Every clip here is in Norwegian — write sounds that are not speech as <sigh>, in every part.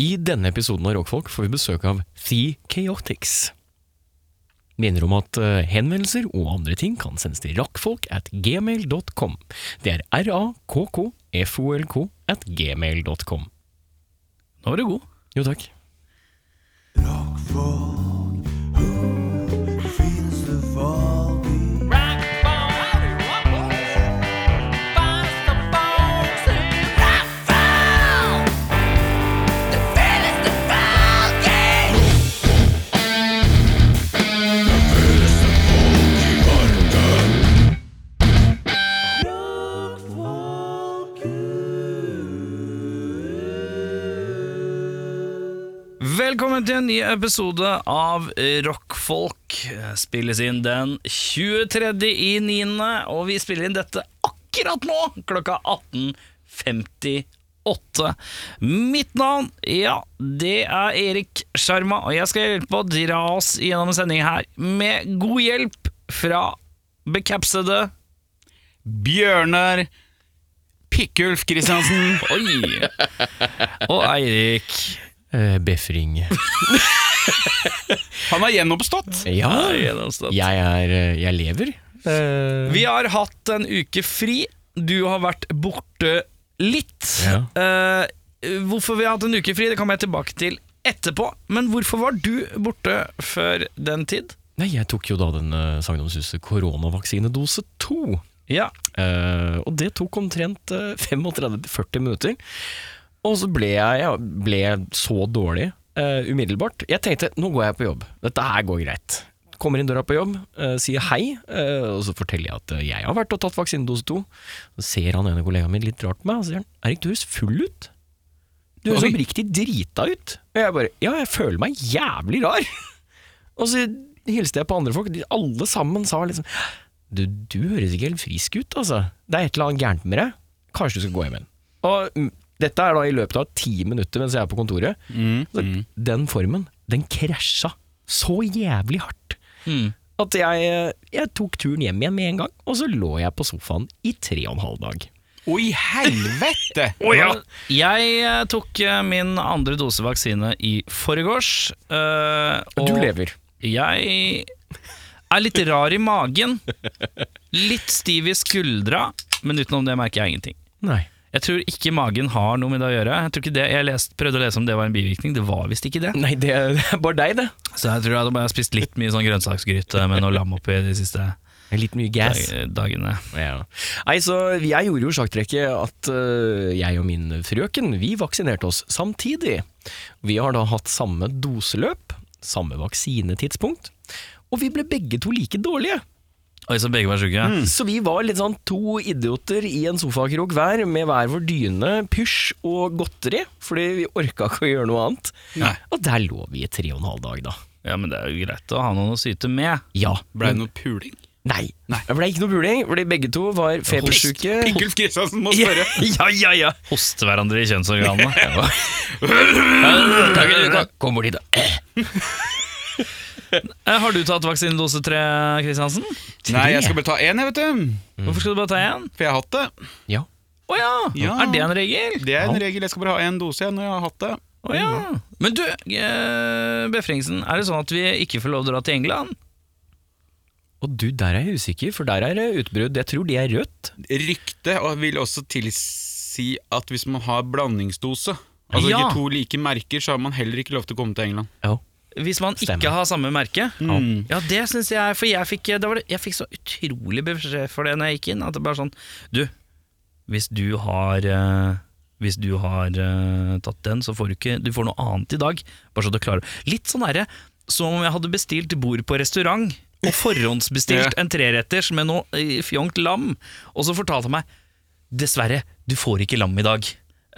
I denne episoden av Rockfolk får vi besøk av The Chaotix. Minner om at eh, henvendelser og andre ting kan sendes til rakkfolk at gmail.com. Det er r-a-k-k-f-o-l-k at gmail.com. Nå er du god. Jo takk. Velkommen til en ny episode av Rockfolk. Eh, Spilles inn den 23. i 9., og vi spiller inn dette akkurat nå, klokka 18.58. Mitt navn, ja, det er Erik Sjarma, og jeg skal hjelpe å dra oss gjennom sendingen her med god hjelp fra bekapsede Bjørnar Pikkulf Kristiansen. Oi! Og Eirik. Eh, Befring. <laughs> Han har gjenoppstått. Ja, gjennomstått. jeg er eh, Jeg lever. Eh, Vi har hatt en uke fri. Du har vært borte litt. Ja. Eh, hvorfor vi har hatt en uke fri, det kommer jeg tilbake til etterpå. Men hvorfor var du borte før den tid? Nei, jeg tok jo da den eh, sagnomsuste koronavaksinedose to. Ja, Eh, og det tok omtrent eh, 35-40 minutter. Og så ble jeg, jeg ble så dårlig eh, umiddelbart. Jeg tenkte nå går jeg på jobb. Dette her går greit. Kommer inn døra på jobb, eh, sier hei, eh, og så forteller jeg at eh, jeg har vært og tatt vaksinedose to. Så ser han ene kollegaen min litt rart på meg og så sier han, Erik, du høres full ut. Du høres Oi. oppriktig drita ut. Og jeg bare ja, jeg føler meg jævlig rar. <laughs> Og så hilste jeg på andre folk, de, alle sammen sa liksom du, du høres ikke helt frisk ut, altså. Det er et eller annet gærent med deg. Kanskje du skal gå hjem igjen. Og mm, dette er da i løpet av ti minutter mens jeg er på kontoret. Mm, Så, Den formen, den krasja så jævlig hardt Mm. at jeg, jeg tok turen hjem igjen med en gang, og så lå jeg på sofaen i tre og en halv dag. Å, i helvete! Jeg eh, tok eh, min andre dose vaksine i forgårs. eh, og Du lever. Jeg er litt rar i magen. Litt stiv i skuldra, men utenom det merker jeg ingenting. Nei. Jeg tror ikke magen har noe med det å gjøre. Jeg, tror ikke det. jeg lest, prøvde å lese om det var en bivirkning, det var visst ikke det. Nei, det, det er bare deg, det. Så jeg tror jeg hadde bare spist litt mye sånn grønnsaksgryte med noe lam oppi de siste Litt mye gas. dag, dagene. Ja. Nei, så jeg gjorde jo sjakktrekket at øh, jeg og min frøken, vi vaksinerte oss samtidig. Vi har da hatt samme doseløp, samme vaksinetidspunkt, og vi ble begge to like dårlige. Oi, så begge var sjuke. Så vi var litt sånn to idioter i en sofakrok hver, med hver vår dyne, pysj og godteri, fordi vi orka ikke å gjøre noe annet. Nei. Og der lå vi i tre og en halv dag, da. Ja, men det er jo greit å ha noen å syte med. Ja. Ble det noe puling? Nei. Det ble ikke noe puling, fordi begge to var febersjuke. Pikkulf Kristiansen må spørre. <laughs> ja, ja, ja. Hoste hverandre i <laughs> kjønnsorganene. Kommer de da? Eh, Har du tatt vaksinedose tre, Kristiansen? Nei, jeg skal bare ta én, jeg, vet du. Mm. Hvorfor skal du bare ta én? For jeg har hatt det. Ja. Å ja. Ja. er det en regel? Det er en regel. Jeg skal bare ha én dose jeg, når jeg har hatt det. Å ja. Men du, eh, Befringsen, er det sånn at vi ikke får lov til å dra til England? Og du, der er jeg usikker, for der er det utbrudd. Jeg tror de er rødt. Ryktet og vil også tilsi at hvis man har blandingsdose, altså Ja. ikke to like merker, så har man heller ikke lov til å komme til England. Ja. Hvis man Stemmer. ikke har samme merke? Mm. Ja, det syns jeg. For jeg fikk, det var det, jeg fikk så utrolig beskjed for det når jeg gikk inn. At det bare sånn Du, hvis du har eh, Hvis du har eh, tatt den, så får du ikke Du får noe annet i dag. Bare så du klarer Litt sånn derre som om jeg hadde bestilt bord på restaurant. Og forhåndsbestilt en treretters med noe eh, fjongt lam. Og så fortalte han meg Dessverre, du får ikke lam i dag.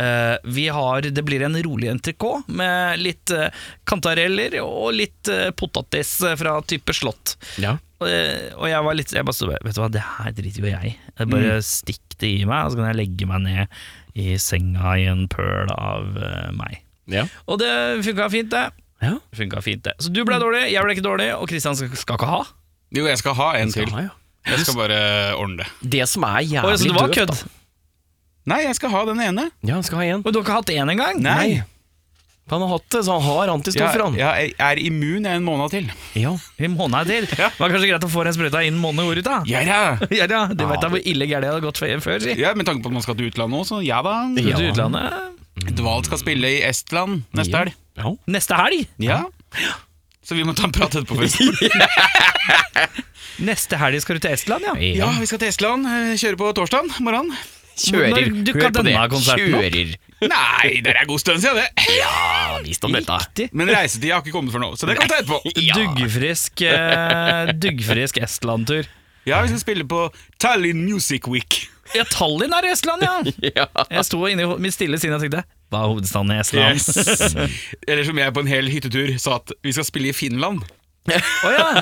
Eh, vi har, det blir en rolig entrecôte med litt eh, kantareller og litt eh, potatis fra type slott. ja. Eh, og jeg var litt Jeg bare stod, Vet du hva, det her driter jo jeg i. Jeg Bare stikk det i meg, og så kan jeg legge meg ned i senga i en pøl av eh, meg. Ja. Og det funka fint, det. Ja. Funka fint, det. Så du ble dårlig, jeg ble ikke dårlig, og Kristian skal, skal ikke ha. Jo, jeg skal ha en til. ja. Jeg skal bare ordne det. Det som er Å, jævlig så det var døvt, kødd. da. Nei, jeg skal ha den ene. Ja, han skal ha en. Og du har ikke hatt én engang? Nei. Han har hatt det, så han har antistoffer, han. Jeg, jeg er immun jeg en måned til. Ja. I måneden til. Det var kanskje greit å få den sprøyta innen måneden ut, da. Ja da! <laughs> Ja, ja, du vet da hvor ille gærent jeg hadde gått fe- før, si. Ja, Med tanke på at man skal til utlandet òg, så ja da. Skal du Ja. til utlandet? Dval skal spille i Estland neste helg. Ja. Neste helg? Ja. Så vi må ta en prat etterpå. Først. Neste helg skal du til Estland, ja. Ja, vi skal til Estland. eh, Kjøre på torsdag morgen. Kjører. Når dukka denne konserten opp? Kjører. Nei, det er god stund siden, det. Ja, visst om dette. Riktig. Men reisetida har ikke kommet for nå, så det kan vi ta etterpå. Ja. Duggfrisk, eh, duggfrisk Estland-tur. Ja, vi skal spille på Tallinn Music Week. Ja, Tallinn er i Estland, <laughs> ja! Ja. Jeg sto inne i ho- mitt stille sinn og tenkte Hva er hovedstaden i Estland? Å Eller som jeg på en hel hyttetur sa at vi skal spille i Finland. ja!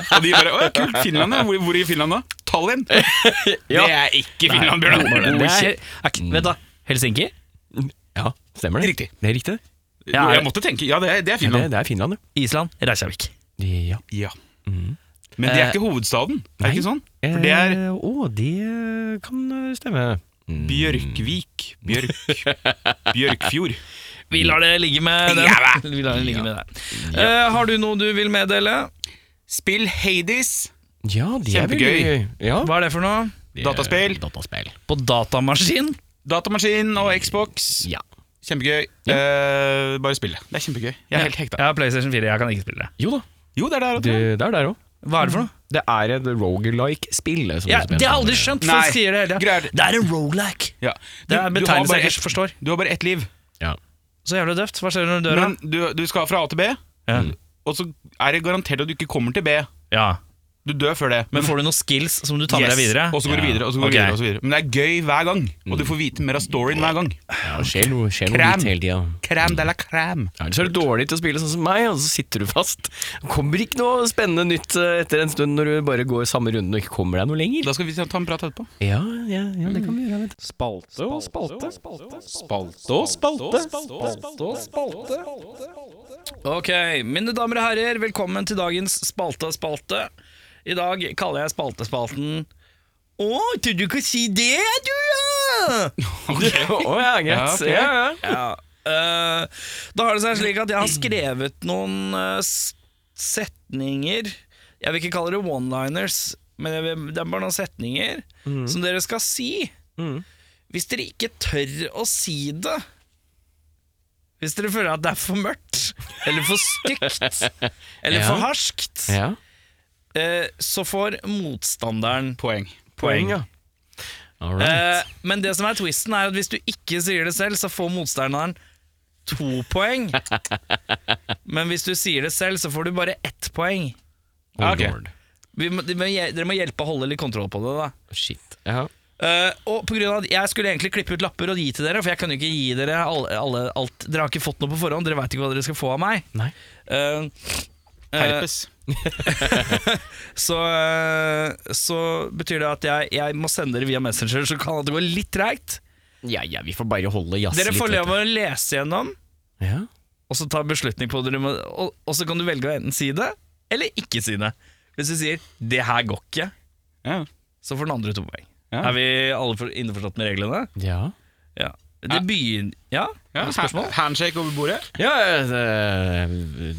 <laughs> Og de bare 'Å, ja, kult, Finland, ja. Hvor, hvor i Finland da?' Tallinn. Ja. Det er ikke Finland, Bjørnar. Det er, er, ikke- vet du, hva, Helsinki? ja, stemmer det. Riktig. Det er riktig. Ja, er- Jeg måtte tenke. Ja, det er, det er Det, Finland. det er Finland, ja. Island? Reykjavik. Ja. Ja. Mm. Men det er ikke hovedstaden, er det ikke sånn? For det er mm. Mm. Eh, Å, det kan eh, stemme. Bjørkvik. <laughs> Bjørk. Bjørkfjord. Vi lar det ligge med Mm. den. Ja, <laughs> Vi lar det ligge med det. Eh, har du noe du vil meddele? Spill Hades. Ja, det er veldig Kjempegøy. gøy. Ja. Hva er det for noe? Det er Dataspill. Dataspill. På datamaskin? Datamaskin og Xbox. Ja. Kjempegøy. Eh, bare spill det. Det er kjempegøy. Jeg er helt hekta. Jeg har PlayStation 4, jeg kan ikke spille det. Jo da, Jo, det er der. det, Det. det er der òg. Hva er det for noe? Det er et rogelike-spill. som Ja, du spiller. det har jeg aldri skjønt. Folk Nei, sier det hele greier tida. det. Det er en roguelike Ja. Det er en har betegnelse bare jeg ikke ett- forstår. Du har bare ett liv. Ja. Så jævlig døvt. Hva skjer når du dør? Men Mm. du, du skal fra A til B, da? Ja. og så er det garantert at du ikke kommer til B. ja. Du dør før det. Men får du noen skills som du tar med Yes. deg videre? Og så går du Ja. videre, og så går Ok. du videre, og så videre. Men det er gøy hver gang, og du får vite mer av storyen hver gang. Ja, det skjer noe, skjer noe Krem. nytt hele tida. Crème de la crème. Ellers er du dårlig til å spille sånn som meg, og så sitter du fast. Det kommer ikke noe spennende nytt eh, etter en stund når du bare går samme runden og ikke kommer deg noe lenger. Da skal vi ta en prat etterpå. Ja, ja, ja det kan vi gjøre. Vet du. Spalte og spalte. Spalte og spalte. Spalte og spalte. Ok, mine damer og herrer, velkommen til dagens Spalte og spalte. I dag kaller jeg Spaltespalten Å, trodde du ikke si det, du, <laughs> ja! Å ja, Ja, greit. ok. Ja, ja. ja eh, da har det seg slik at jeg har skrevet noen eh, s- setninger Jeg vil ikke kalle det one-liners, men jeg vil, det er bare noen setninger Mm. som dere skal si. Mhm. Hvis dere ikke tør å si det Hvis dere føler at det er for mørkt, eller for <laughs> stygt, eller Ja. for harskt, ja. eh, så får motstanderen Poeng. poeng. ja. All right. Eh, men det som er twisten, er at hvis du ikke sier det selv, så får motstanderen to <laughs> poeng. Men hvis du sier det selv, så får du bare ett poeng. Oh, ok. lord. Vi må, de må, hje- dere må hjelpe å holde litt kontroll på det, da. Oh, Shit. Ja. Eh, og på grunn av at Jeg skulle egentlig klippe ut lapper og gi til dere, for jeg kan jo ikke gi dere alle, alle, alt. Dere har ikke fått noe på forhånd, dere veit ikke hva dere skal få av meg. Nei. Eh, eh, Herpes. så, eh, så betyr det at jeg, jeg må sende dere via Messenger, så kan det gå litt treigt. Ja, ja, vi får bare holde jazz Dere får vet lov å lese gjennom, du. Ja. og så ta en beslutning på det. dere må- Og, og så kan du velge å enten si det, eller ikke si det. Hvis du sier 'det her går ikke', Ja. så får den andre to poeng. Ja. Er vi alle for, innforstått med reglene? Ja. Ja. Det begynner Ja? Ja, Spørsmål? ha- Handshake over bordet. Ja, jeg, jeg,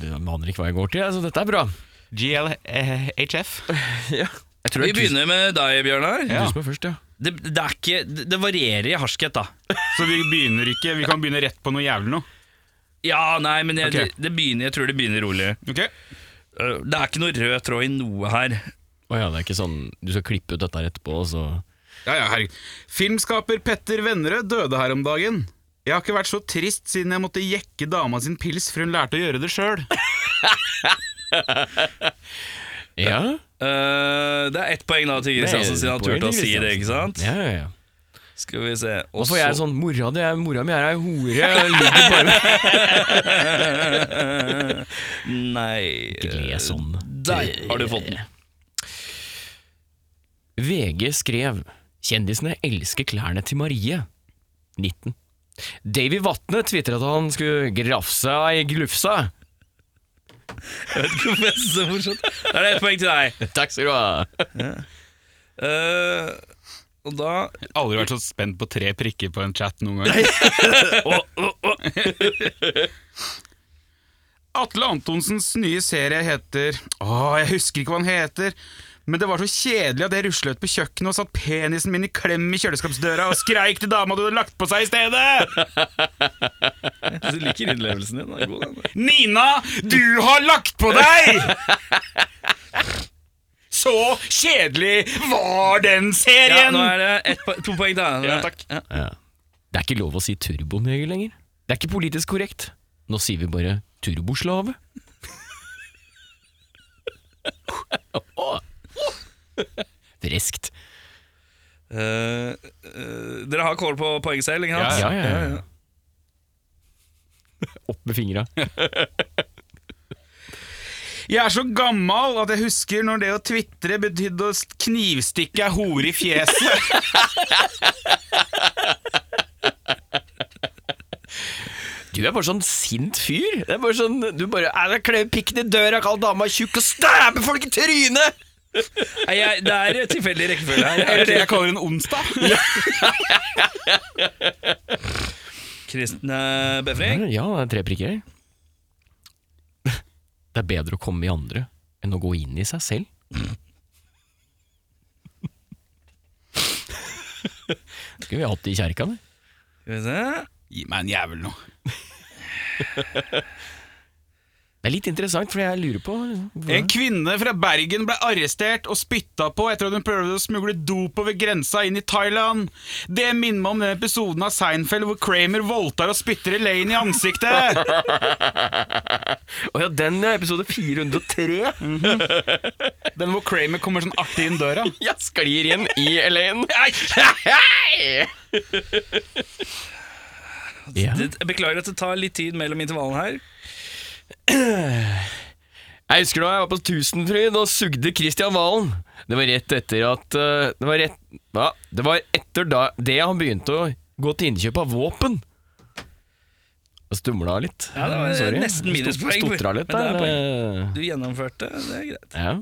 jeg aner ikke hva jeg går til, så dette er bra. GLHF. Jeg Vi begynner med deg, Bjørnar. Ja. Ja. Du som er først, ja. Det, det, er ikke, det det varierer i harskhet, da. Så vi begynner ikke Vi kan begynne rett på noe jævlig nå. Ja, nei, men jeg, Ok. det, det begynner, jeg tror det begynner rolig. Ok? Uh, Det er ikke noe rød tråd i noe her. Å ja, det er ikke sånn du skal klippe ut dette her etterpå, og så Ja, ja, herregud. Filmskaper Petter Vennerød døde her om dagen. Jeg har ikke vært så trist siden jeg måtte jekke dama sin pils, for hun lærte å gjøre det sjøl. Ja, Uh, det er ett poeng da til Det er Kristiansen, siden han ett poeng turte å til si det. ikke sant? ja, ja. ja. Skal vi se Og så får jeg sånn Mora di er mora mi er ei hore, og ligger bare med <laughs> sånn- Nei le sånn. Der har du fått den. VG skrev 'Kjendisene elsker klærne til Marie'. 19. Davy Vatne tvitret at han skulle grafse ei glufsa. Jeg vet ikke hvorfor jeg synes det er morsomt. Da er det ett poeng til <laughs> deg. Takk skal du ha. Eh, og da Aldri vært så spent på tre prikker på en chat noen gang. Atle Antonsens nye serie heter Åh, jeg husker ikke hva den heter. Men det var så kjedelig at jeg ruslet ut på kjøkkenet og satt penisen min i klem i kjøleskapsdøra og skreik til dama du hadde lagt på seg i stedet! Jeg liker innlevelsen din. Den er god, den. Nina, du har lagt på deg! Så kjedelig var den Ja, serien! nå er det ett po to poeng, da. Ja, takk. Ja. Det er ikke lov å si turbomegel lenger. Det er ikke politisk korrekt. Nå sier vi bare turboslave. Friskt. Eh, eh, dere har kål på poeng selv, ikke sant? Ja, ja, ja, ja. <laughs> Opp med fingra. Jeg er så gammel at jeg husker når det å tvitre betydde å knivstikke ei hore i fjeset. Du er bare sånn sint fyr. Det er bare sånn, Du bare «Nei, jeg kler pikken i døra, kall dama tjukk og stabber folk i trynet! Nei, jeg, det er tilfeldig rekkefølge <laughs> her. Eller det jeg kaller en onsdag. Kristne eh, Befring. Ja, det er tre prikker. <laughs> Det er bedre å komme i andre enn å gå inn i seg <laughs> selv. Skulle vi hatt det i kjerka, det. Skal vi se Gi meg en jævel nå. Det er litt interessant, for jeg lurer på En kvinne fra Bergen ble arrestert og spytta på etter at hun prøvde å smugle dop over grensa inn i Thailand. Det minner meg om den episoden av Seinfeld hvor Kramer voldtar og spytter Elaine i ansiktet. Å ja, den er episode 403! Den hvor Kramer kommer sånn artig inn døra. <laughs> Jeg sklir inn i Elaine. <laughs> ja. Det- jeg Beklager at det tar litt tid mellom intervallene her. Jeg husker da jeg var på Tusenfryd og sugde Kristian Valen. Det var rett etter at eh, Det var rett ja, Det var etter da det han begynte å gå til innkjøp av våpen. Og stumla litt. Ja, det var Sorry. nesten minuspoeng, Stot- Stotra litt men det er der. Du gjennomførte, det er greit. eh, Ja.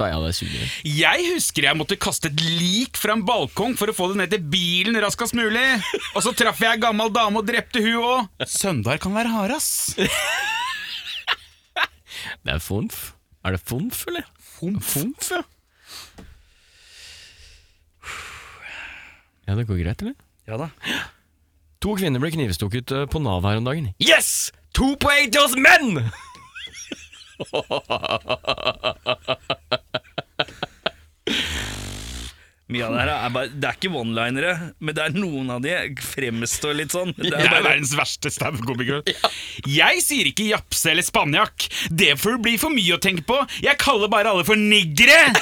Da er jeg det sugerøret. Jeg husker jeg måtte kaste et lik fra en balkong for å få det ned til bilen raskest mulig. Og så traff jeg ei gammel dame og drepte hun òg. Søndager kan være harde, ass. Det er fonf. Er det fonf, eller? Fomf. Fonf, ja. Ja, det går greit, eller? Ja da. To kvinner ble knivstukket eh, på Nav her om dagen. Yes! To poeng til oss menn! <laughs> Mye av det her er bare Det er ikke one-linere, men det er noen av de fremstår litt sånn. Det Jeg er er bare verdens verste standup-komiker. Jeg sier ikke japse eller spanjakk. Det får bli for mye å tenke på. Jeg kaller bare alle for niggere.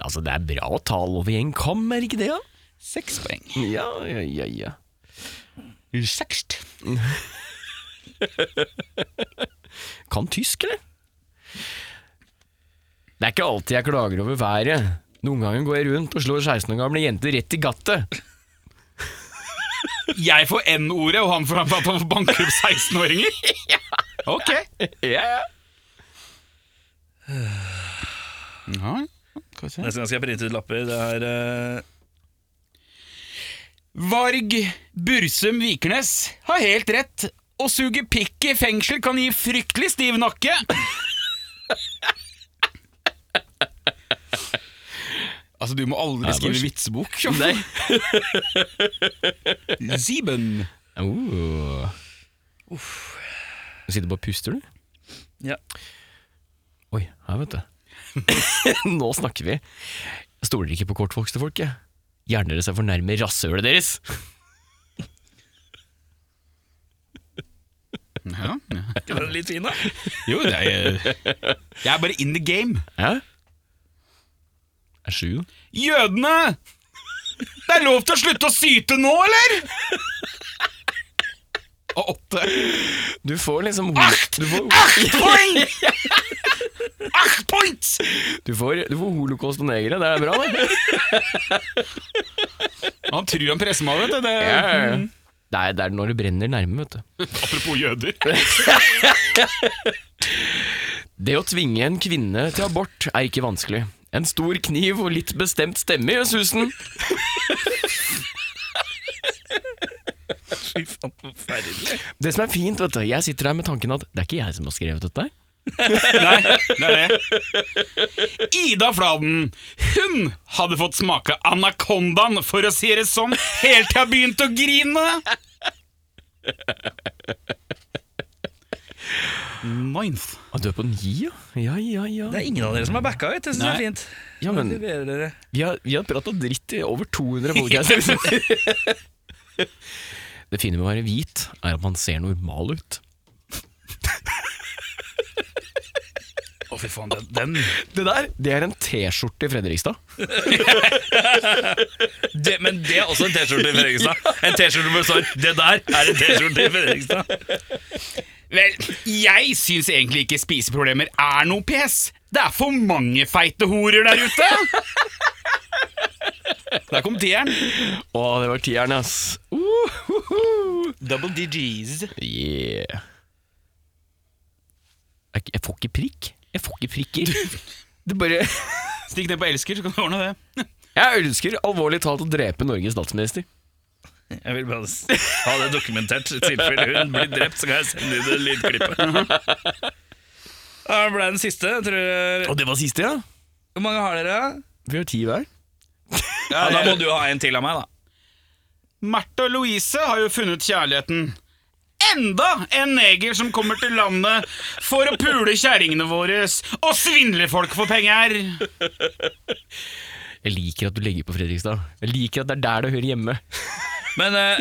Altså, det er bra å tale over en kam, er det ikke det? Ja, Seks poeng. ja, ja, ja. ja. Sekst. <laughs> Kan tysk, eller? Det er ikke alltid jeg klager over været. Noen ganger går jeg rundt og slår 16 år gamle jenter rett i gattet. Jeg får N-ordet, og han får, at han får banke opp 16-åringer? Ok. Ja, Ja, skal vi se. Neste gang skal jeg printe ut lapper. Det er eh, Varg Bursum Vikernes har helt rett. Å suge pikk i fengsel kan gi fryktelig stiv nakke. Altså, du må aldri skrive vitsebok. <laughs> Nei. Sieben. Uh. Du sitter bare og puster, du? Ja. Oi, her vet du. <laughs> Nå snakker vi. Jeg stoler ikke på kortvokste folk, jeg. Hjernen deres er for nærme rasshølet deres. Ja. er ikke den litt fin, da? Jo, det er eh, <laughs> Jeg er bare in the game. Hæ? Er sju, da? Jødene! Det er lov til å slutte å syte nå, eller? Og åtte. Du får liksom Acht! Du får, Acht <laughs> poeng! Acht points! du får, du får holocaust og negere, det er bra, <laughs> det. Han tror han presser meg, vet du. Det, Mm. Det er, det er når det brenner nærme, vet du. Apropos jøder. Det å tvinge en kvinne til abort er ikke vanskelig. En stor kniv og litt bestemt stemme gjør susen. <laughs> Fy faen, forferdelig. Det som er fint, vet du, jeg sitter her med tanken at det er ikke jeg som har skrevet dette. Nei, det er det. Ida Fladen, hun hadde fått smake anakondaen, for å si det sånn, helt til jeg begynte å grine. Ninth. Og du er på en gi, ja? Ja, ja, ja. Det er ingen av dere som har backa ut. Det syns jeg Nei. er fint. Ja, men- Gratulerer dere. Vi har, vi har prata dritt i over 200 podcaster. <laughs> Liksom. det fine med å være hvit, er at man ser normal ut. Å, fy faen, den, den. Det der, det er en T-skjorte i Fredrikstad. Det, men det er også en T-skjorte i Fredrikstad. En T-skjorte hvor det står 'Det der er en T-skjorte i Fredrikstad'. Vel, jeg syns egentlig ikke spiseproblemer er noe pes. Det er for mange feite horer der ute. Der kom tieren. Å, det var tieren, ass. Uhuhu. Double DGs. Yeah. Jeg, jeg får ikke prikk. Jeg får ikke prikker. <laughs> Det bare Stikk ned på elsker, så kan du ordne det. Jeg ønsker alvorlig talt å drepe Norges statsminister. Jeg vil bare s- ha det dokumentert. I tilfelle hun blir drept, så kan jeg sende ut det lydklippet. Det ble den siste. jeg Tror Og det var siste, ja? Hvor mange har dere? Vi har ti hver. Ja, da må du ha en til av meg, da. Märtha og Louise har jo funnet kjærligheten. Enda en neger som kommer til landet for å pule kjerringene våre og svindle folk for penger. Jeg liker at du legger på Fredrikstad. Jeg liker at det er der det hører hjemme. Men eh,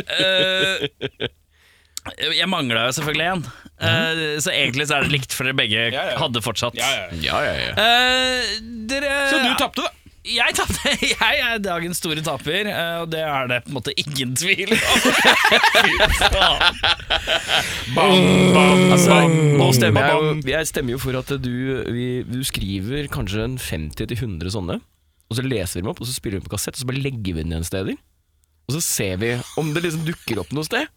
eh, jeg mangla jo selvfølgelig en. Eh, så egentlig så er det likt, for dere begge Ja, ja. hadde fortsatt. Ja, ja, ja. Eh, dere Så du tapte, da. Jeg tapte. <laughs> Jeg er dagens store taper, eh, og det er det på en måte ingen tvil <laughs> om. Altså, nå stemmer jeg, jo, jeg stemmer jo for at du, vi, du skriver kanskje en 50-100 sånne, og så leser vi dem opp, og så spiller vi dem på kassett, og så bare legger vi den igjen steder. Og så ser vi om det liksom dukker opp noe sted.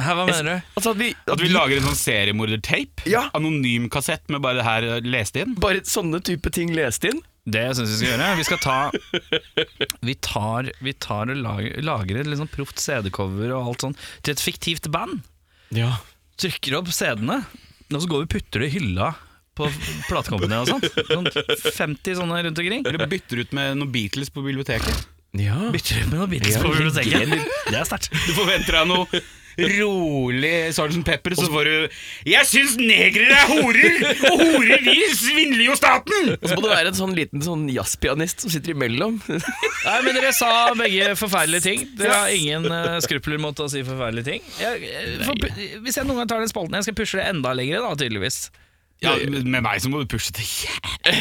Hæ, hva mener du? Altså at vi, At vi lager en sånn seriemordertape? Ja. Anonym kassett med bare det her eh, lest inn? bare sånne type ting lest inn. Det syns vi skal gjøre. Vi skal ta Vi tar, vi tar og lager, lager et litt sånn proft CD-cover og alt sånn til et fiktivt band. Ja. Trykker opp CD-ene, og så går vi og putter det i hylla på platekompaniet og sånt. Sånn 50 sånne rundt omkring. Eller bytter ut med noen Beatles på biblioteket? Ja. Bytter ut med noen Beatles på biblioteket. Det er sterkt. Du forventer deg noe rolig Sergeant Pepper, så får du 'Jeg syns negrer er horer, og horer vi svindler jo staten'! Og så må det være en sånn liten sånn jazzpianist som sitter imellom. Nei, men dere sa begge forferdelige ting. Dere har ingen eh, skrupler mot å si forferdelige ting. Jeg, jeg, får pu- hvis jeg noen gang tar den spalten, jeg skal pushe det enda lenger, da, tydeligvis. Ja, Med meg så må du pushe det jævlig.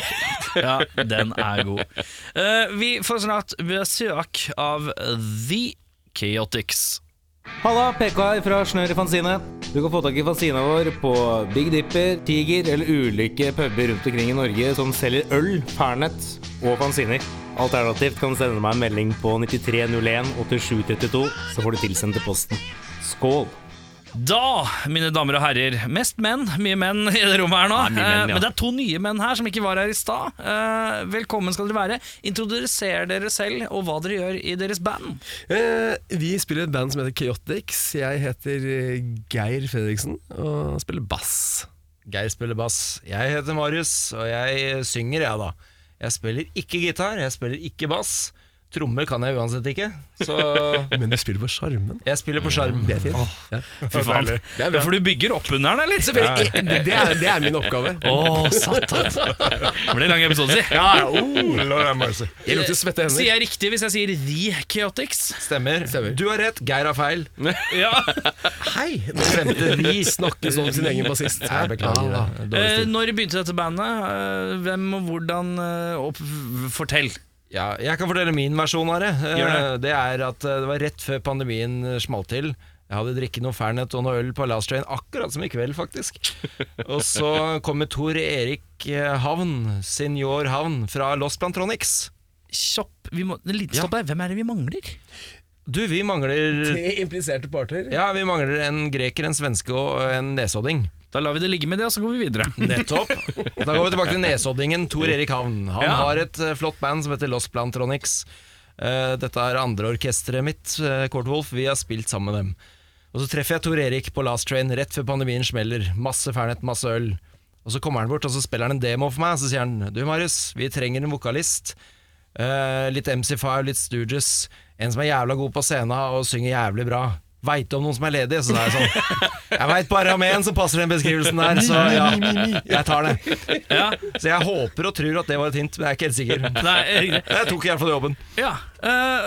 Ja, den er god. Eh, vi får snart besøk av The Chaotix. Halla, PK her fra Snør i Fanzine. Du kan få tak i fanzina vår på Big Dipper, Tiger eller ulike puber rundt omkring i Norge som selger øl, pernett og fanziner. Alternativt kan du sende meg en melding på 9301 8732, så får du tilsendt til posten. Skål! Da, mine damer og herrer, mest menn, mye menn i det rommet her nå. Eh, Men det er to nye menn her som ikke var her i stad. Eh, velkommen skal dere være. Introduser dere selv og hva dere gjør i deres band. <laughs> Eh, vi spiller et band som heter Chaotix. Jeg heter eh, Geir Fredriksen og spiller bass. Geir spiller bass. Jeg heter Marius, og jeg synger, jeg, da. Jeg spiller ikke gitar, jeg spiller ikke bass. Trommer kan jeg uansett ikke, så Men du spiller på Sjarmen. jeg spiller på sjarm. Det er fint. Ja. Fy faen. Ja, for du bygger opp under den, eller? Selvfølgelig. Det, det, er, det er min oppgave. Å, satan! Det ble en lang episode, <laughs> si. Ja, ja, oh, lord have mercy. jeg lot jo svette Sier hender. jeg riktig hvis jeg sier The Chaotix? Stemmer. Stemmer. Du har rett, Geir har feil. Ja. Hei! Nå glemte vi snakke sånn om sin egen bassist. Jeg beklager det. Dårlig Eh, stil. når begynte dette bandet? Eh, hvem og hvordan? eh, opp, v- fortell. Ja, jeg kan fortelle min versjon av det. Gjør Eh, Det er at eh, det var rett før pandemien eh, smalt til. Jeg hadde drikket noe Fernet og noe øl på Last Train, akkurat som i kveld, faktisk. Og så kommer Tor Erik eh, Havn, senior Havn, fra Los Plantronics. Kjapp, vi må, en liten stopp her. Hvem er det vi mangler? Du, vi mangler Tre impliserte parter. Ja, vi mangler en greker, en svenske og en nesodding. Da lar vi det ligge med det, og så går vi videre. Nettopp. Da går vi tilbake til nesoddingen Tor Erik Havn. Han Ja. har et eh, flott band som heter Los eh, Plantronics. Eh, dette er andre orkesteret mitt, uh, Kort Wolf. Vi har spilt sammen med dem. Og så treffer jeg Tor Erik på Last Train rett før pandemien smeller. Masse Fernet, masse øl. Og så kommer han bort og så spiller han en demo for meg. Så sier han du Marius, vi trenger en vokalist. Eh, litt MC5, litt Stooges. En som er jævla god på scenen og synger jævlig bra. Veit du om noen som er ledig? Så da er jeg sånn Jeg veit bare om én som passer den beskrivelsen der, så ja, jeg tar det. Så jeg håper og tror at det var et hint, men jeg er ikke helt sikker. Nei, eh, Jeg tok i hvert fall jobben. ja. Eh,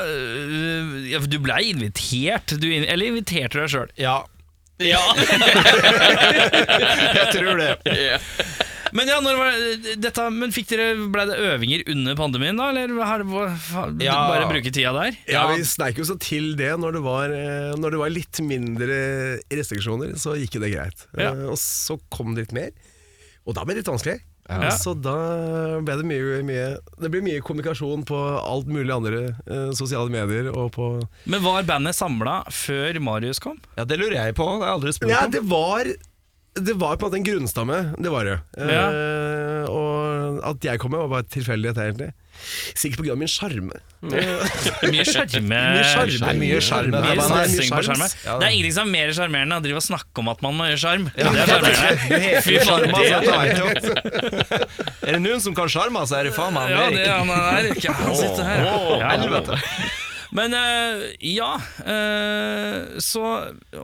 ja, for du blei invitert, du, in- eller inviterte deg sjøl. Ja, jeg tror det. Men ja, når var eh, dette, men fikk dere, ble det øvinger under pandemien, da? Eller har hva- faen, Ja. bare bruke tida der? Ja, Vi sneik jo så til det når det, var, eh, når det var litt mindre restriksjoner, så gikk jo det greit. Ja. Eh, Og så kom det litt mer, og da ble det litt vanskelig. Eh, Ja. Så da ble det mye, mye Det ble mye kommunikasjon på alt mulig andre eh, sosiale medier og på Men var bandet samla før Marius kom? Ja, Det lurer jeg på. Det har jeg aldri spurt Ja, om. det var Det var på en måte en grunnstamme, det var det. Eh, og at jeg kom med, var bare tilfeldighet, egentlig. Sikkert på grunn av min sjarme. <laughs> Mye sjarme. Eh, Det er mye Mye sjarm. i det bandet. satsing på sjarm. sjarme. Ja, Det da. er ingenting som er mer sjarmerende enn å drive og snakke om at man må gjøre sjarm. <laughs> Det er sjarmerende. Fy faen, Sjarm, det- altså, det er jo- <laughs> Er det noen som kan sjarma, så er det faen meg Ja, det Erik. er han her. Ikke han sitter her. Ja. Men eh, ja eh, Så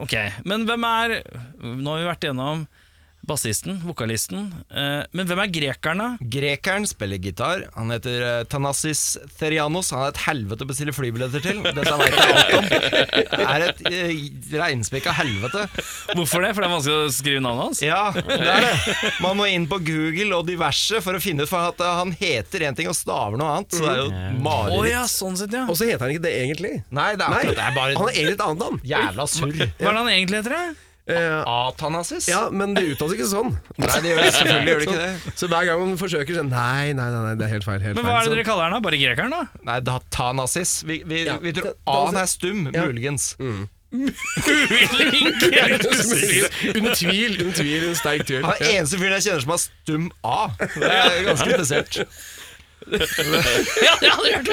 Ok. Men hvem er Nå har vi vært gjennom bassisten, vokalisten. eh, men hvem er grekerne? Grekeren spiller gitar. Han heter eh, Thanasis Therianos. Han er et helvete å bestille flybilletter til. Dette vet jeg alt om. Det er et eh, reinspekka helvete. Hvorfor det? For det er vanskelig å skrive navnet hans? Ja, det er det. Man må inn på Google og diverse for å finne ut, for at eh, han heter én ting og staver noe annet. Så det er jo Å mareritt. ja, sånn sett, ja. Og så heter han ikke det egentlig. Nei, det er, Nei, akkurat- det er han bare har egentlig et annet navn. jævla surr. Hva er det han egentlig heter? det? Eh, Atanasis? ja, men det uttales ikke sånn. Nei, det gjør det selvfølgelig gjør det ikke det. <laughs> Så hver gang man forsøker sånn Nei, nei, nei, nei det er helt feil. Helt Men feil. Hva er det Så- dere kaller han da? Bare grekeren, da? Nei, da, ta nazis. Vi, vi, Ja. vi tror Ta- ta A-en nazis. er stum, muligens. <laughs> Under tvil, under tvil, under sterk tvil. Han er den eneste fyren jeg kjenner som har stum A. Det er ganske interessert. Ja, det hadde jeg hørt!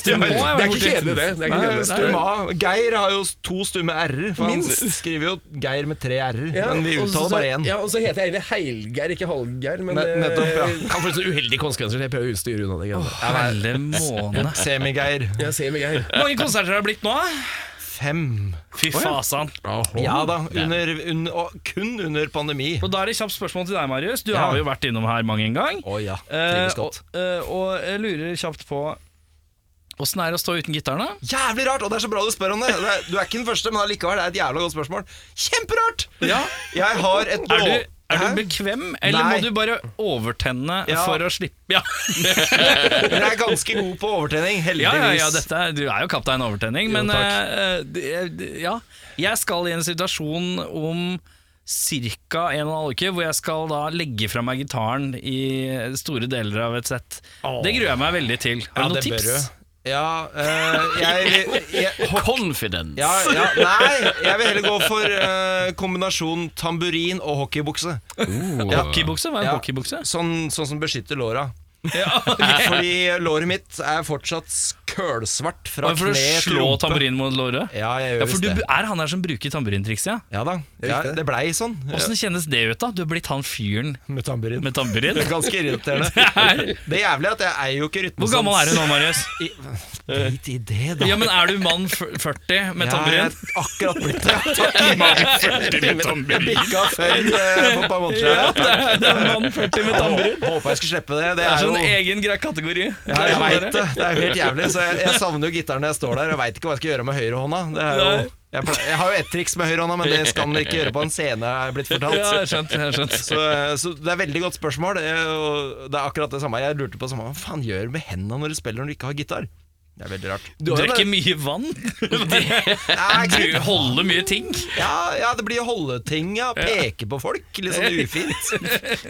Stum det Å, jeg var Det er ikke borti. kjedelig, det. det, er ikke Nei, kjedelig. stum A. Geir har jo to stumme r-er, for Minst. han skriver jo Geir med tre r-er, Ja, men vi og så- uttaler bare én. Ja, og så heter jeg egentlig Heilgeir, ikke Halvgeir. Men Ne- eh, nettopp, ja. kan få litt så uheldige konsekvenser. så Jeg prøver å styre unna det. greiene der. Helle måne. Semi-Geir. Jeg ser meg her. Hvor mange konserter har det blitt nå? da? Fem. Fy fasan. Ja da, under, un, og kun under pandemi. Og da er det kjapt spørsmål til deg, Marius. Du har jo vært innom her mange en gang. Å ja, Eh, trives og, godt. eh, og jeg lurer kjapt på Åssen er det å stå uten gitaren, da? Jævlig rart, og det er så bra du spør om det. Det er- Du er ikke den første, men allikevel, det er et jævla godt spørsmål. Kjemperart! Ja. Jeg har et Er du, er Hæ? du bekvem, eller Nei. må du bare overtenne Ja. for å slippe Ja, Men jeg er ganske god på overtenning, ja, heldigvis. ja, ja dette, er- du er jo kaptein overtenning, men takk. eh, eh, det- det- ja. Jeg skal i en situasjon om ca. en og en halv uke, hvor jeg skal da legge fra meg gitaren i store deler av et sett. Det gruer jeg meg veldig til. Har du noen det bør tips? du. Ja, eh, jeg, jeg Confidence. ja, ja, Nei, jeg vil heller gå for eh, kombinasjon tamburin og hockeybukse. Hockeybukse? Hva er Ja. hockeybukse? Sånn, sånn som beskytter låra. <laughs> <laughs> Eh, Fordi låret mitt er fortsatt kølsvart fra Bare for kne å til slå rumpe. tamburinen mot låret? Ja, jeg Ja, gjør for visst du det. er han der som bruker tamburintrikset, ja. Ja da. Ja, det blei sånn. Åssen kjennes det ut, da? Du er blitt han fyren Med tamburin. med tamburin. Det er <laughs> <laughs> ganske irriterende. Det er- Det jævlige er at jeg eier jo ikke rytmen sånn. Hvor gammel er du nå, <laughs> Marius? Drit i det, da. Ja, men Er du mann f- 40 med Jeg tamburin? er akkurat blitt <laughs> det. Jeg bikka før eh, på et par måneder <laughs> siden. Det er mann 40 med tamburin. Håpa jeg skulle slippe det. Det Det er er jo sånn egen grei kategori. ja, jeg vet det. Det er jo helt jævlig. Så jeg, jeg savner jo gitaren når jeg står der og veit ikke hva jeg skal gjøre med høyrehånda. Det er jo, Nei. jeg, ple- jeg har jo ett triks med høyrehånda, men det skal man ikke gjøre på en scene, er jeg blitt Ja, jeg har fortalt. skjønt, jeg har skjønt. Så, eh, så det er veldig godt spørsmål. eh, Og det er akkurat det samme. Jeg lurte på det samme. Hva faen gjør du med hendene når du spiller når du ikke har gitar? Det er veldig rart. Du drikker mye <laughs> vann. <laughs> Nei, ikke Du holder mye ting. Ja, ja, det blir å holde ting, ja. Peke på folk. Litt <laughs> sånn ufint.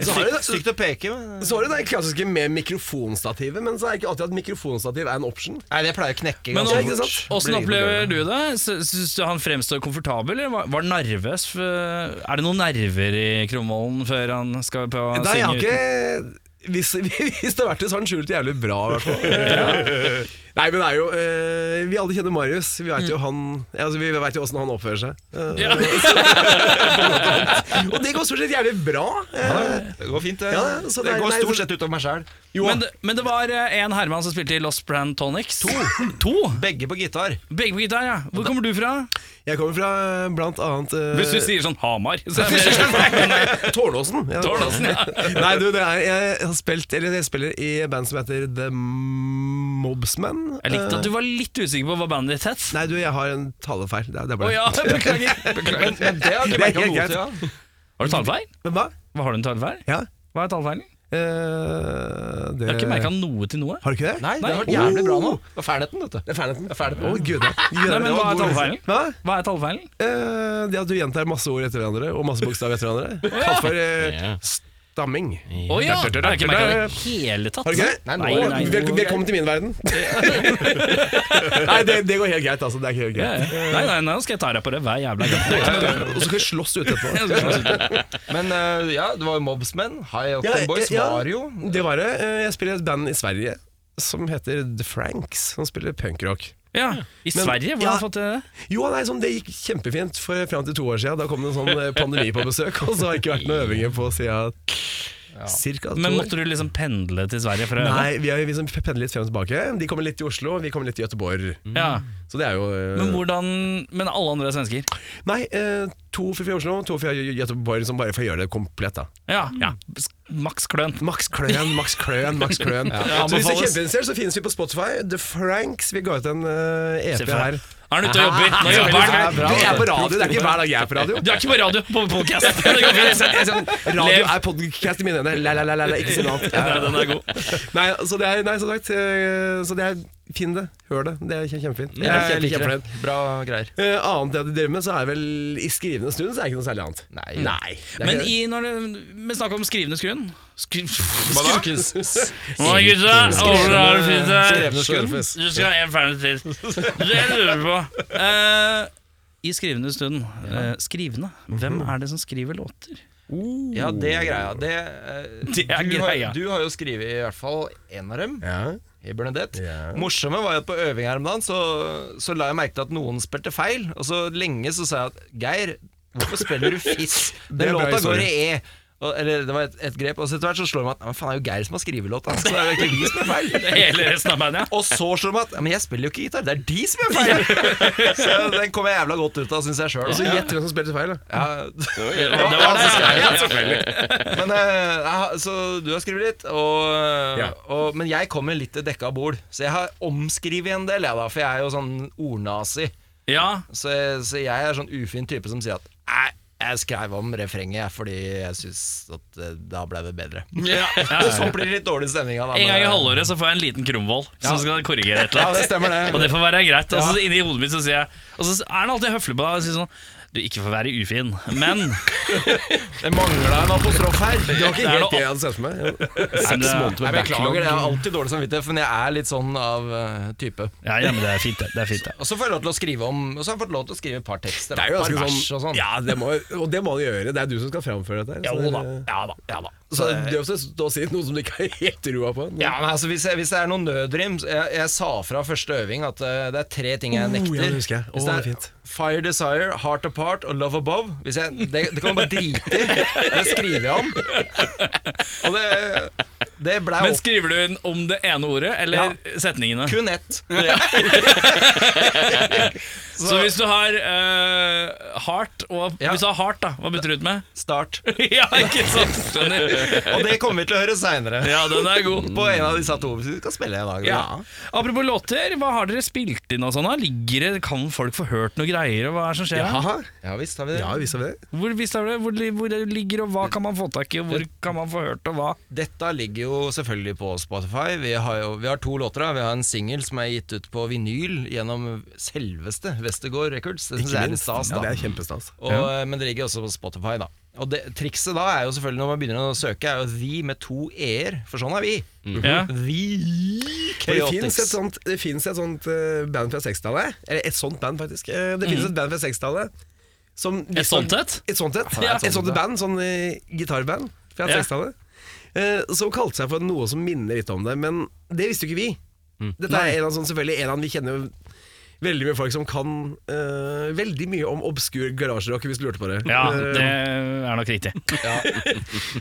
Stygt, stygt å peke. Men... Så har du det klassiske med mikrofonstativet, men så er det ikke alltid at mikrofonstativ er en option. Nei, det pleier å knekke Men ganske fort. ikke sant? Åssen Blir- opplever du det? Sy- Syns du han fremstår komfortabel, eller var- var han nervøs? For- Er det noen nerver i Kromvollen før han skal på å Nei, jeg synge har uten? <laughs> <laughs> ikke hvis, hvis det har vært det, så har den skjult jævlig bra, i hvert fall. Nei, men det er jo eh, Vi alle kjenner Marius. Vi veit jo Mm. han ja, altså, Vi vet jo åssen han oppfører seg. Eh, <laughs> og det går stort sett jævlig bra. Eh, Det går fint, det. Ja, så det det er- går nei, stort så- sett utover meg sjæl. jo, Men, det- men det var eh, en Herman som spilte i Lost Brand Tonics. To. Begge på gitar. Begge på gitar, ja. Hvor kommer du fra? jeg kommer fra eh, blant annet eh, Hvis du sier sånn Hamar, så er det <laughs> Tårnåsen. Ja. Tårnåsen, ja. <laughs> Nei, du, det er, jeg, har spilt, eller jeg spiller i et band som heter The Mobsman. <laughs> Jeg likte at Eh, du var litt usikker på hva bandet ditt het. Nei, du, jeg har en talefeil. Det, er- det er Å bare det. ja, <laughs> beklager. Men, men det har Det ikke er vært helt noe greit. mot, ja. Har du tallfeil? Men hva? Hva Har du en tallfeil? Ja. Hva er tallfeilen? eh, det Jeg har ikke merka noe til noe. Har du ikke det? Nei, det har vært Nei. jævlig bra nå. Det var Fernetten, vet du. Oh, Det er ferdigheten. Det er ferdig. Å, gud, da. Gud, Nei, da. men Det hva var er god- tallfeilen? Hva? Hva er tallfeilen? Eh, det at du gjentar masse ord etter hverandre, og masse bokstav etter <laughs> hverandre, kalles for eh, stamming. Å ja! Jeg har ikke merka det i det hele tatt. Har du ikke det? Nei, nå- Å, nei, vel- velkommen til min <laughs> verden. <laughs> nei, det, det går helt greit, altså. Det er ikke helt Ja, greit. ja. Nei, nei, nå skal jeg ta deg på det hver jævla <laughs> gang. Og så skal vi slåss <laughs> ute etterpå. Men eh, ja, det var jo Mobsmen, High Up Ja, Boys, ja, ja. Mario. Det var det. Eh, Jeg spiller i et band i Sverige som heter The Franks, som spiller punkrock. Ja, I Sverige? Hvordan har du fått til det? Jo, nei, sånn, Det gikk kjempefint for fram til to år siden. Da kom det en sånn eh, pandemi på besøk, og så har det ikke vært noen øvinger på siden cirka to Men år. måtte du liksom pendle til Sverige for å øve? Nei, vi, har, vi som pendler litt frem og tilbake. De kommer litt i Oslo, vi kommer litt i Gøteborg. Ja. Så det er jo eh, Men hvordan Men alle andre er svensker? Nei, eh, to fra Oslo, to fra Gøteborg, som bare får gjøre det komplett, da. Ja. ja. Max Kløn. Max Kløen, Max Kløen, Max <laughs> Kløen. så hvis du er anbefales. kjempeinteressert, så finnes vi på Spotify. The Franks. Vi ga ut en eh, EP her. Er han ute og jobber? Nå jobber han. Du er på radio, det er ikke hver dag jeg er på radio. Du er ikke på radio, på podcast. <laughs> Det går fint. Radio er podcast i mine øyne. La, la, la, la, la, ikke si noe annet. Ja, den er god. <laughs> Nei, så det er, nei, som sagt, eh, så det er Finn det, hør det. Det er kjem- kjempefint. Jeg, jeg liker liker det. Bra greier. Eh, annet det de driver med, så er vel i skrivende stund så er det ikke noe særlig annet. Nei. det er Men ikke- i, når det, vi snakker om skrivende skruen Skri- da? Hva gutta? Over har det fint her. Skrevne skudd. Du skal ha en ferdig til. Det jeg lurer på eh, I skrivende stund eh, Skrivende. Hvem Mhm. er det som skriver låter? Ja, det er greia. Det, eh, Det er du, har, greia. du har jo skrevet i hvert fall én av dem. Ja. I Bernadette. Ja. Morsomme var jo at på øving her om dagen så, så la jeg merke til at noen spilte feil. Og så lenge så sa jeg at Geir, hvorfor <laughs> spiller du fiss? Det Den er bra låta går i E. historie. Og, eller det var et, et grep. Og så etter hvert så slår det meg at men faen, det er jo Geir som har skrevet låta. Så det er jo egentlig de som er feil. <laughs> Hele resten av bandet? Og så slår det meg at ja, men jeg spiller jo ikke gitar, det er de som er feil! <laughs> <laughs> Så den kom jeg jævla godt ut av, syns jeg sjøl. Og så gjett hvem som spilte feil, da. Ja, <laughs> det var det. Ja, selvfølgelig. Men eh, jeg har- så du har skrevet litt, og, eh, Ja. og, men jeg kommer litt til dekka bord. Så jeg har omskrevet en del, jeg da, for jeg er jo sånn ordnazi. Ja. ja. Så, jeg- så jeg er sånn ufin type som sier at nei, jeg skrev om refrenget jeg, fordi jeg syns at eh, da ble det bedre. ja. Og <laughs> så sånn blir det litt dårlig stemning av det. En men- eh, gang i halvåret så får jeg en liten krumvoll som skal korrigere et eller Ja, annet. det stemmer det. Og det får være greit. Og så inni hodet mitt så sier jeg Og så er han alltid høflig på deg og sier sånn Du, ikke for å være ufin, <laughs> men Det mangla en apostrof her. Det var ikke er helt noe- det jeg hadde sett for meg. Jo. Men det- Jeg beklager, det. jeg har alltid dårlig samvittighet, men jeg er litt sånn av eh, type. Ja, ja, men det er fint, det. det, er fint, det. Og så får jeg lov til å skrive om Og så har jeg fått lov til å skrive et par tekster. Det er jo et par ganske vers og sånn sånn. Ja, det må, og det må du gjøre. Det er du som skal framføre dette. her, så Jo da, det- ja da, ja da. Så det er også stå og si noe som du ikke har helt roa på. Ja, men altså hvis, jeg, hvis det er noen nødrim så jeg, jeg sa fra første øving at eh, det er tre ting jeg Oh, nekter. ja, det husker jeg. Hvis Å, det er det er fint. Fire Desire, Heart Apart og Love Above hvis jeg, det, det kan man bare drite i. Det skriver jeg om. Og det, det blei Men opp skriver du inn om det ene ordet eller setningene? kun ett. Så, hvis du har eh, heart og Ja. Hvis du har heart, da, hva bytter du ut <laughs> med? Start. ja, ikke sant? Skjønner. Og det kommer vi til å høre seinere. Ja, den er god. På en av disse to. Vi skal spille i dag. Ja. da. Apropos låter, hva har dere spilt inn og sånn? da? Ligger det, Kan folk få hørt noe greier, og hva er det som skjer? da? Aha. ja visst har vi det. ja visst har vi det. Hvor, hvis det er det, hvor, li- hvor det ligger, og hva kan man få tak i, og hvor kan man få hørt, og hva? Dette ligger jo selvfølgelig på Spotify. Vi har, jo, vi har to låter. da. Vi har en singel som er gitt ut på vinyl gjennom selveste Westergård Records. Det synes Ikke jeg er litt minst. stas, Ja, da. det er kjempestas. og, eh, Men det ligger også på Spotify, da. Og det, trikset da er jo selvfølgelig når man begynner å søke, er jo The med to e-er, for sånn er vi. Ja. The For Det fins et Chaotix. sånt, det finnes et sånt eh, band fra 60-tallet. Eller et sånt band, faktisk. Eh, Det fins et band fra 60-tallet som Mm. liksom- Et sånt et? Et sånt et. Ja. Et sånt band, sånn eh, gitarband fra Ja. 60-tallet. eh, Som kalte seg for noe som minner litt om det, men det visste jo ikke vi. Mm. Dette er en av sånn, selvfølgelig en av dem vi kjenner jo veldig mye folk som kan eh, veldig mye om obskur garasjerock, hvis du lurte på det. Ja, Eh, det er nok riktig.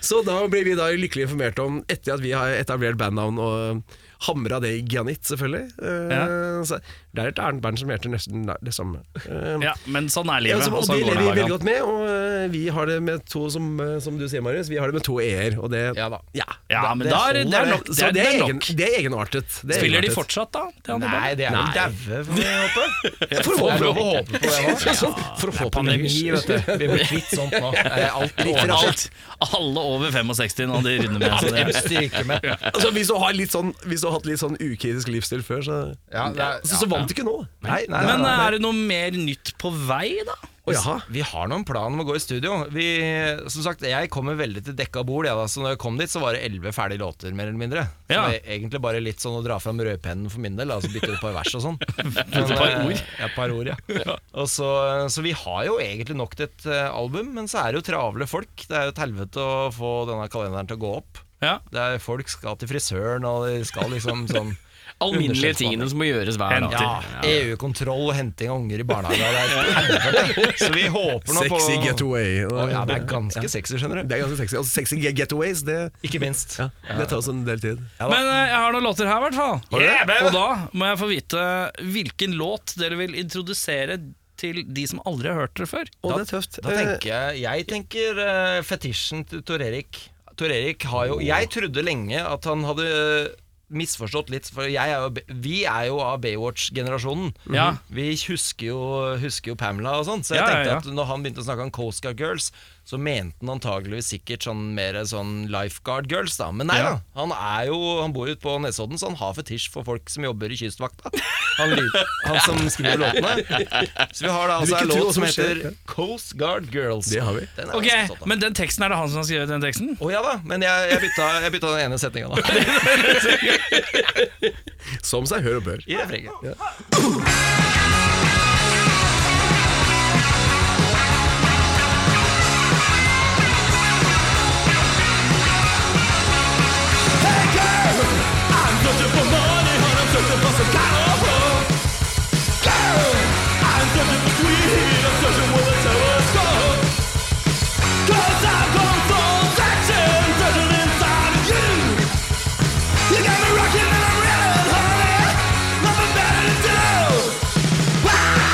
Så da blir vi da lykkelig informert om, etter at vi har etablert bandnavn og hamra det i granitt, selvfølgelig. Eh, så det er et annet band som heter nesten det samme. Eh, Ja, men sånn er ja, livet. som, og og sånn de går det lever vi hver veldig gang. godt med, og eh, vi har det med to, som, eh, som du sier, Marius, vi har det med to e-er. Og det Ja da. Ja, Ja, da- men da er det- det er nok- det Så er- det det er, er egen, det er egenartet. Det er Spiller de egenartet. fortsatt, da? Det andre Nei, bandet? det er vel daue, får vi håpe. Det er lov <laughs> å håpe på det òg. Pandemi, vet du. Vi blir kvitt sånt <laughs> nå. Det er alt ordnet. Alt, alle over 65 nå, de runder med. Så <laughs> det. Styrke med. Altså, hvis, du har litt sånn, hvis du har hatt litt sånn ukritisk livsstil før, så, Ja, det er- så, så vant du ikke nå. Nei, nei, Men eh, er det noe mer nytt på vei, da? Å, jaha. Vi har noen plan om å gå i studio. Vi, som sagt, Jeg kommer veldig til dekka bord. Jeg, da. Så når jeg kom dit, så var det elleve ferdige låter, mer eller mindre. Så Ja. det er egentlig bare litt sånn å dra fram rødpennen for min del, altså bytte ut et par vers og sånn. Et par ord. Ja, et par ord, ja. Og så, så vi har jo egentlig nok til et eh, album, men så er det jo travle folk. Det er jo et helvete å få denne kalenderen til å gå opp. Ja. Det er Folk skal til frisøren, og de skal liksom sånn Alminnelige tingene som må gjøres hver dag. ja, EU-kontroll og henting av unger i barnehagen. Det er et helvete. Så vi håper nå på Sexy getaway. Å, ja, det er ganske sexy, skjønner du. Det er ganske sexy. Altså, sexy ge- getaways, det, Ikke minst. det tar også en del tid. Men eh, jeg har noen låter her, i hvert fall. Og da må jeg få vite hvilken låt dere vil introdusere til de som aldri har hørt dere før. Og det er tøft. Da tenker jeg Jeg tenker eh, fetisjen til Tor Erik. Tor Erik har jo Jeg trodde lenge at han hadde eh, misforstått litt, for jeg er jo, B- vi er jo av Baywatch-generasjonen. Ja. Vi husker jo, husker jo Pamela og sånn, så jeg Ja, ja, tenkte ja. at når han begynte å snakke om Coast Guard Girls, så mente han antageligvis sikkert sånn mer sånn Lifeguard Girls, da. Men nei da. Han er jo Han bor jo ute på Nesodden, så han har fetisj for folk som jobber i Kystvakta. Han, ly- han som skriver låtene. Så vi har da altså ikke en tro hva låt som som skjer. heter Coast Guard Girls. Det har vi. Den er Ok, ganske stolt av. Men den teksten er det han som har skrevet den teksten? Å ja da, men jeg, jeg, bytta, jeg bytta den ene setninga da. Eh, Som seg hør og bør. I refrenget. You got me rocking and I'm ready, honey. Nothing better to do.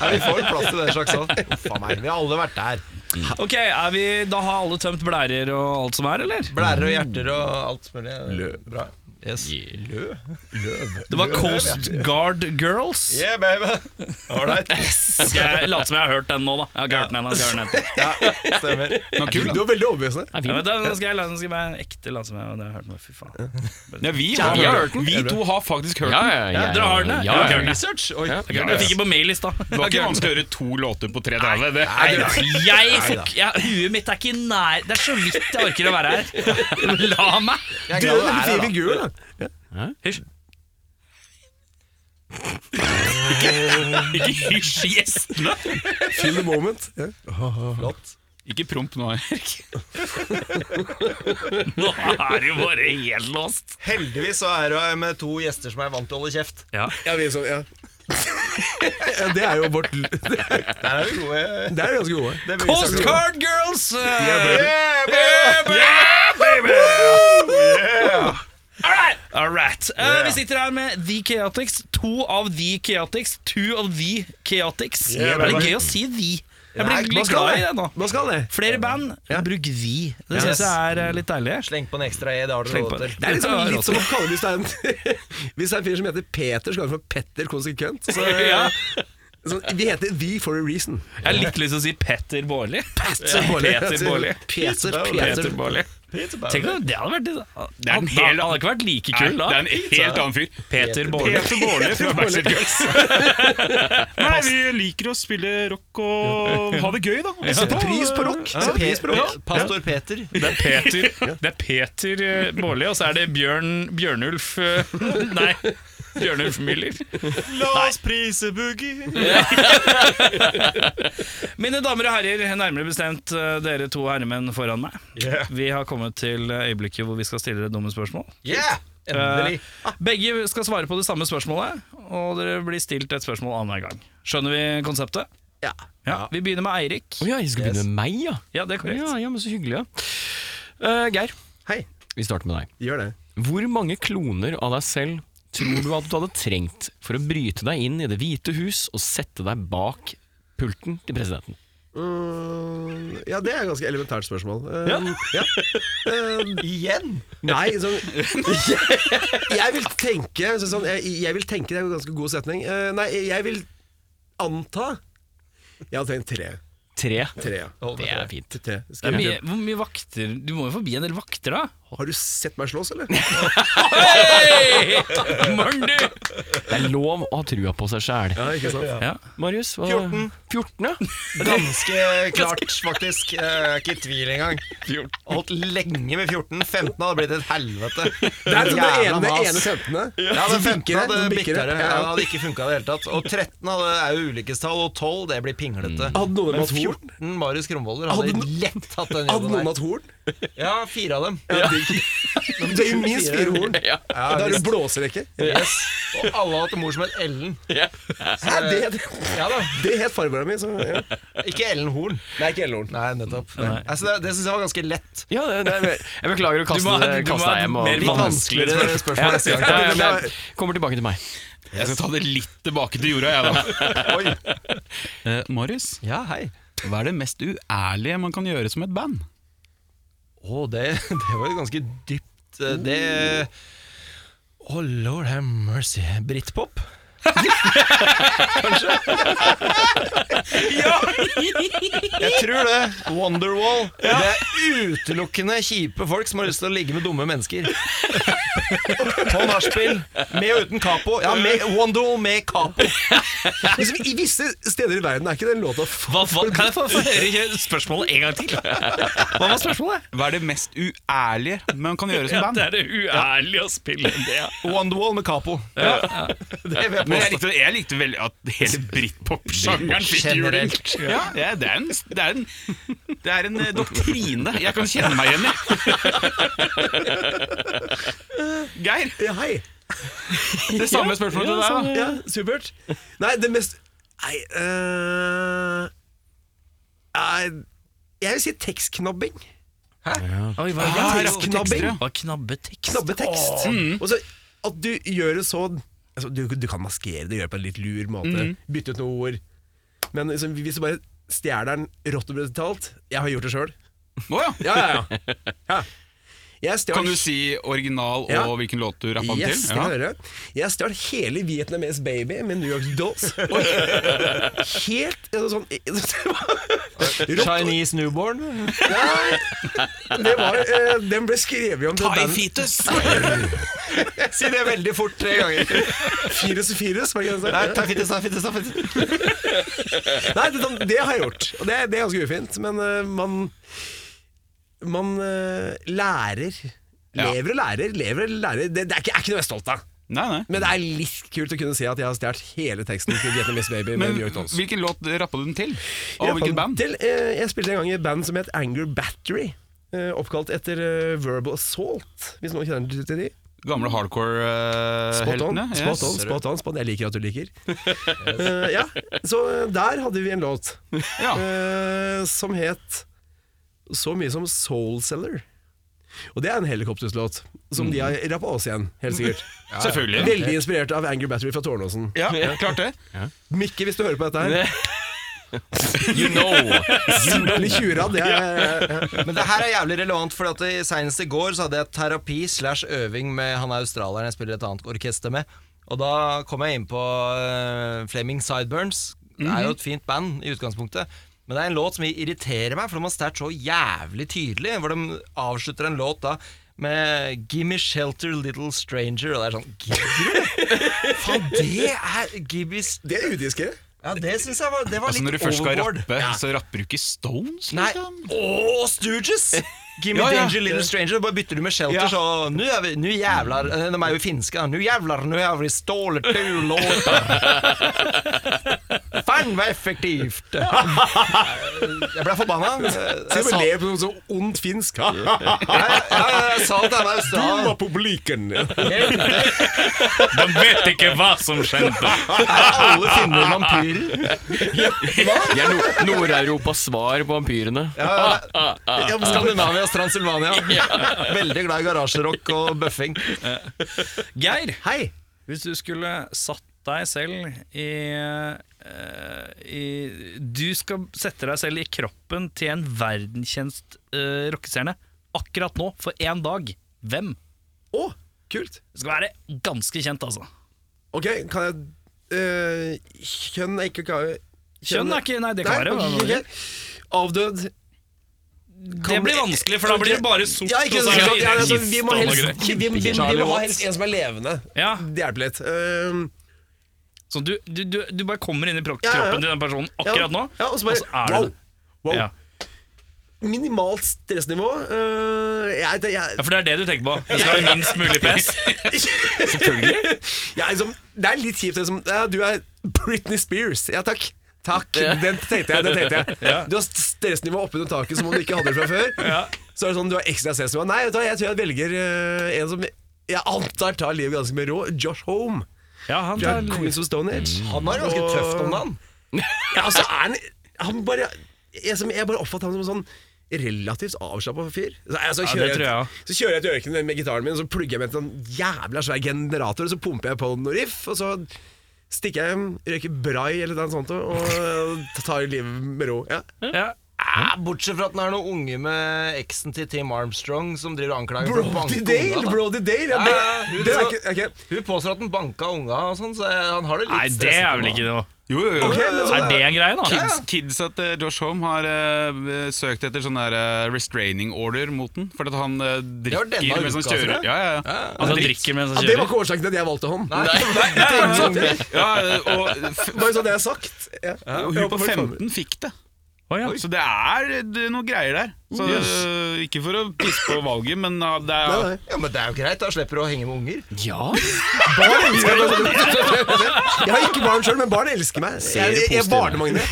Ja, vi får plass til den slags òg. Faen meg, vi har alle vært der. Ok, er vi, Da har alle tømt blærer og alt som er, eller? Blærer og hjerter og alt mulig. Bra. Yes. Det var Coast Guard Girls. Yeah, baby. All right. Skal jeg late som jeg har hørt den nå, da? Jeg har ikke hørt den ennå. jeg skal høre den etterpå. Stemmer. Du er veldig overbevisende. Ja, men da skal jeg, la- nå skal jeg være ekte late som jeg har hørt den. Fy faen. Ja, vi, har, vi har hørt den. vi to har faktisk hørt Ja, den. ja, ja, Ja, dere har den, ja? ja, Jeg har ja, hørt den. Research. Oi. Jeg har hørt den. Jeg fikk den på mail i stad. Det var ikke vanskelig å gjøre to låter på tre dager. Det. Nei, jeg får ikke ja, Huet mitt er ikke nær Det er så vidt jeg orker å være her. La meg! Jeg er Du er glad du en veldig er fin her, da. figur, da. Hysj. Ikke hysj gjestene! Feel the moment. Ja. Ikke promp nå, Erik. Nå er det jo bare helt låst. Heldigvis så er du her med to gjester som er vant til å holde kjeft. Ja, vi er sånn, ja. ja, det er jo vårt Det Der er du gode. er ganske gode. Det beviser Coast du. Guard Girls! Yeah, baby. All right. Eh, vi sitter her med The Chaotix. To av The Chaotix. Two of The Chaotix. Yeah, er det baby. gøy å si The? Jeg Nei, blir man litt skal glad i det. det nå. Man skal det. Flere band, bruk The. Det Yes. synes jeg er eh, litt deilig. Sleng på en ekstra E, det har du Sleng råd på- til. Det er liksom Ja, litt som å kalle hvis det er en <laughs> Hvis det er en fyr som heter Peter, så kaller han for Petter konsekvent. <laughs> Så, eh, Ja. så vi heter The for a reason. Jeg har litt lyst til å si Petter Baarli. Petter Peter Baarli. Altså, Peter, Peter Peter. Baarli. Tenk om det hadde vært det. Det er en en hel- Han hadde ikke vært like Nei, kul det da. er en helt annen fyr. Peter Baarli. Peter Baarli fra Backstreet <laughs> Girls. Nei, vi liker å spille rock og ha det gøy, da. Sette pris på rock. Sette pris på rock. Pastor Peter. Det er Peter, <laughs> det er Peter eh, Baarli, og så er det Bjørn Bjørnulf eh, <laughs> Nei. Bjørnulf Müller. La oss prise boogie. Mine damer og herrer, nærmere bestemt eh, dere to herremenn foran meg. Vi har kommet til eh, øyeblikket hvor vi skal stille dere dumme spørsmål. Yeah! Endelig. Eh, Begge skal svare på det samme spørsmålet, og dere blir stilt et spørsmål annenhver gang. Skjønner vi konseptet? Ja. Ja, Vi begynner med Eirik. Å ja, jeg skal Yes. begynne med meg, ja. Ja, det er korrekt. Ja, ja, men så hyggelig, ja. Eh, Geir, Hei. vi starter med deg. Gjør det. Hvor mange kloner av deg selv tror du at du hadde trengt for å bryte deg inn i Det hvite hus og sette deg bak pulten til presidenten? Mm, ja, det er et ganske elementært spørsmål. Eh, <laughs> ja. Eh, Igjen? nei, sånn <laughs> jeg, jeg vil tenke så sånn, jeg, jeg vil tenke, Det er en ganske god setning. Eh, nei, jeg vil anta Jeg hadde tenkt tre. Tre. tre ja. Det er fint. Til tre. Det Skal er jeg- mye, hvor mye vakter Du må jo forbi en del vakter, da. Har du sett meg slåss, eller? Hei! Morn, du! Det er lov å ha trua på seg sjæl. <laughs> Ja, ikke sant? Marius? Hva? 14. 14, ja. Ganske klart, faktisk. Eh, Jeg er ikke i tvil engang. Holdt lenge med 14. 15 hadde blitt et helvete. Det er sånn det Jævla ene, mas. ene 15. Ja, den 15 bikker det, hadde den bikker bikket det. det. Ja, Ja. det hadde ikke funka i det hele tatt. Og 13 hadde, er jo ulykkestall, og 12 det blir pinglete. Mm. Hadde noen Men av dem hatt horn? 14 Marius Krumvoller Hadde hadde no- lett hatt den Hadde noen jobben hatt horn? der. Ja, fire av dem. <laughs> Det er jo minst fire horn. <laughs> Ja, Da er det visst. blåserekke. yes. Og alle hadde mor som het Ellen. Hæ, det, Ja da. det het farmora mi. så, Ja. Ikke Ellen Horn. Nei, ikke Ellehorn. Nei, nettopp. Altså, det det syns jeg var ganske lett. ja det, det, jeg beklager å Du kaste må ha- det- du må kaste ha deg hjem. mer Og, Litt vanskeligere spørsmål neste ja, gang. ja, men jeg kommer tilbake til meg. Jeg skal ta det litt tilbake til jorda, jeg, da. Oi. Eh, Marius, Ja, hei. hva er det mest uærlige man kan gjøre som et band? Å, det, <laughs> det var jo ganske dypt. eh, Det Oh lord have mercy. Britpop? Kanskje? Jeg tror det. Wonderwall. Det er utelukkende kjipe folk som har lyst til å ligge med dumme mennesker. På nachspiel. Med og uten capo. Ja, med, Wonderwall med capo. Liksom, I visse steder i verden er ikke den låta f- Hva, hva, kan jeg få få høre spørsmålet en gang til? Hva var spørsmålet? Hva er det mest uærlige man kan gjøre som Ja, band? det er det uærlige å spille det. ja. Wonderwall med capo. Det vet Men jeg man. likte, jeg likte vel at hele britpop-sjangeren fikk juling. Generelt. Ja, ja, det, er en, det, er en, det er en eh, doktrine jeg kan kjenne meg igjen i. Geir, Ja, hei. det samme spørsmålet til deg. da Ja, supert. Nei, det mest Nei øh, nei, Jeg vil si tekstknabbing. Oi, hva Ah. Ja, raske knabber. Hva knabbetekst? Mm. Knabbe tekst. Og så at du gjør det så altså, du, du kan maskere det, gjøre det på en litt lur måte. Bytte ut noen ord. Men liksom, hvis du bare stjeler den rått og brutalt Jeg har gjort det sjøl. Å ja. Ja, ja, ja. ja. Jeg stjal- Kan du si original og Ja. hvilken låt du rappa den Yes, til? skal jeg høre. Jeg stjal hele Vietnamese Baby med New York Dolls. Og helt altså, sånn <laughs> Rått- Chinese newborn? Nei, <laughs> det var, eh, den ble skrevet om til Thai band- fetus! <laughs> Si det veldig fort tre ganger. Firus og Firus. var det ikke det Nei, den sa? ta fittes, ta fittes, ta fittes. <laughs> Nei, det, sånn, det har jeg gjort. Og det, er- det er ganske ufint. Men eh, man Man eh, lærer. Ja. Lever og lærer, lever og lærer. Det, det er, ikke, er ikke noe jeg er stolt av. Nei, nei. Men det er litt kult å kunne si at jeg har stjålet hele teksten til Vietnamese Baby med Men New York Dolls. hvilken låt rappa du den til? Og Jeg hvilket fant band? Til, eh, jeg spilte en gang i et band som het Anger Battery. eh, oppkalt etter eh, Verbal Assault, hvis noen kjenner til de. Gamle eh, Spot on, hardcore-heltene? spot on, spot on, spot on. Jeg liker at du <laughs> liker. Eh, ja, Så eh, der hadde vi en låt Ja. eh, som het så mye som Soul Seller. Og det er en helikopterslåt, som Mm. de har rappa oss igjen, helt <laughs> sikkert. Selvfølgelig. Veldig inspirert av Anger Battery fra Tårnåsen. Ja, klart det. Mikke, hvis du hører på dette her, You know! bli tjura. Det er, Men det her er jævlig relevant, for at i- senest i går så hadde jeg terapi slash øving med han australieren jeg spiller et annet orkester med. Og da kom jeg inn på eh, Fleming Sideburns. Det er jo et fint band i utgangspunktet. Men det er en låt som irriterer meg, for de har stært så jævlig tydelig. Hvor de avslutter en låt da med 'Gimme shelter, little stranger'. Og det er sånn <laughs> Gidder du? Faen, det er Gibbis det er udiskere. Ja, det syns jeg var, det var Altså, litt når du først skal overboard. rappe, så rapper du ikke Stones? Nei, liksom? ååå, <laughs> Stooges! Gimme Ja, ja. danger, little stranger. Bare bytter du med shelter, Ja. så Nu, er vi, nu jævlar eh, De er jo finske. da. Nu jævlar, nu har vi stålet to <laughs> låter. Fan, hva effektivt! Jeg ble forbanna. Se Jeg om sa- jeg ler på noe så ondt finsk. <laughs> Ja, ja, ja, jeg sa det til Australia. publiken! De vet ikke hva som skjedde! Er alle finner vampyrer? De er no Nord-Europas svar på vampyrene. Ja, Skandinavia, Transylvania. Veldig glad i garasjerock og bøffing. Geir, Hei! hvis du skulle satt deg selv i, eh, i Du skal sette deg selv i kroppen til en verdenskjent uh, rockestjerne akkurat nå, for én dag. Hvem? Å, kult! Det skal være ganske kjent, altså. Ok, kan jeg eh, Kjønn er ikke klar- Kjønn er ikke Nei, det kan Nei, være. hva ok, man vil. ok. Avdød. Det blir vanskelig, for da blir det bare sort. Ja, ikke og så er sant? det Ja, altså, gifte vi må og noe helst greier. vi, vi, vi, vi må ha helst en som er levende. Ja, Det hjelper litt. Eh, så du, du, du, du bare kommer inn i pro- Ja, ja, ja. kroppen til den personen ja, akkurat nå, Ja, og så og så er bare det wow! det. wow. Ja. Minimalt stressnivå. Eh, jeg, Ja, jeg, for det er det du tenker på. Det skal være minst mulig <laughs> pes. jeg, er liksom, det er litt kjipt. Liksom. Ja, du er Britney Spears. Ja, takk. Takk, Den tenkte jeg. den tenkte jeg Du har stressnivå oppunder taket som om du ikke hadde det fra før. Så er det sånn, du har ekstra stressnivå. Nei, vet du hva, jeg tror jeg velger eh, en som jeg antar tar livet ganske med rå. Josh Home Ja, han fra tar Queens of Stone Age. Han er ganske tøft om dagen. Ja, altså, er han, han bare jeg, som, jeg bare oppfatter han som en sånn relativt avslappa fyr. Så, altså, Ja, kjører det tror jeg jeg, så kjører jeg til ørkenen med gitaren min, og så plugger jeg med en sånn jævla svær generator, og så pumper jeg på noe riff, og så stikker jeg hjem, røyker brai eller noe sånt, og, og tar livet med ro. Ja. ja. Ah, bortsett fra at den er noen unge med eksen til Tim Armstrong som driver og anklager for å banke Brody Dale! unga, da. Brody Dale! Ja, Ja, ja, det, hun det er så- ikke, ok. Hun påstår at den banka unga og sånn, så han har det litt Nei, det er vel ikke noe. Jo, jo, jo. Ok, men sånn Er det en greie, da? Kids, kids at eh, Josh Home har eh, søkt etter sånn der eh, restraining order mot den. Fordi at han eh, var denne drikker mens han uka, tror kjører. jeg. Ja, ja, ja. Altså, han drikker mens Ja, han det var kjører. ikke årsaken til at jeg valgte han. Nei, nei, nei, nei, nei. ja eh, og f Bare så det er sagt. Ja. hun på 15 fikk det. Å, ja. Så det er eh, det er noen greier der. Så, eh, ikke for å pisse på valget, men eh, det er Nei, nei. Ja, men det er jo greit, da slipper du å henge med unger. Ja, Barn elsker meg. Jeg har ikke barn sjøl, men barn elsker meg. Jeg, jeg, jeg er barnemagnet.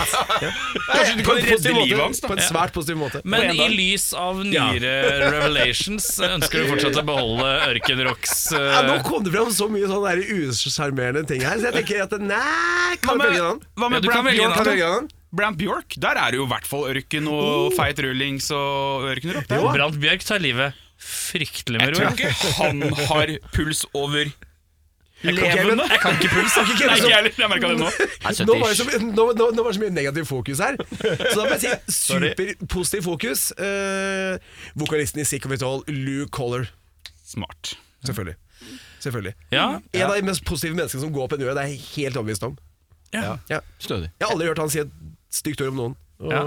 Kanskje du kan redde livet hans, da. På en svært positiv måte. Men i lys av nyere revelations ønsker du fortsatt å beholde Ørkenrocks ja, nå uh, kom det fram så mye sånne der usjarmerende ting her, så jeg tenker at nei Hva Kan du med- velge en annen? Hva Ja, med du kan Brant velge en Bjørk? Kan da? du velge en annen? Brant Bjørk? Der er det jo i hvert fall ørken og feit rullings og ørkenrock. der. Brant Bjørk tar livet fryktelig med Jeg ro. tror ikke han har puls over Levende? Kan ikke puls. Kan ikke Nei, puls. ikke jeg heller. Jeg merka det nå. Nå var, det så, mye- nå, nå, nå var det så mye negativ fokus her. Så da må jeg si superpositiv fokus. Eh, vokalisten i Sick of It All, Lou Collar. Smart. Selvfølgelig. Selvfølgelig. Ja. En av de mest positive menneskene som går på en øre, det er jeg helt overbevist om. Ja. Ja. Stødig. Jeg har aldri hørt han si et stygt ord om noen. Og Ja.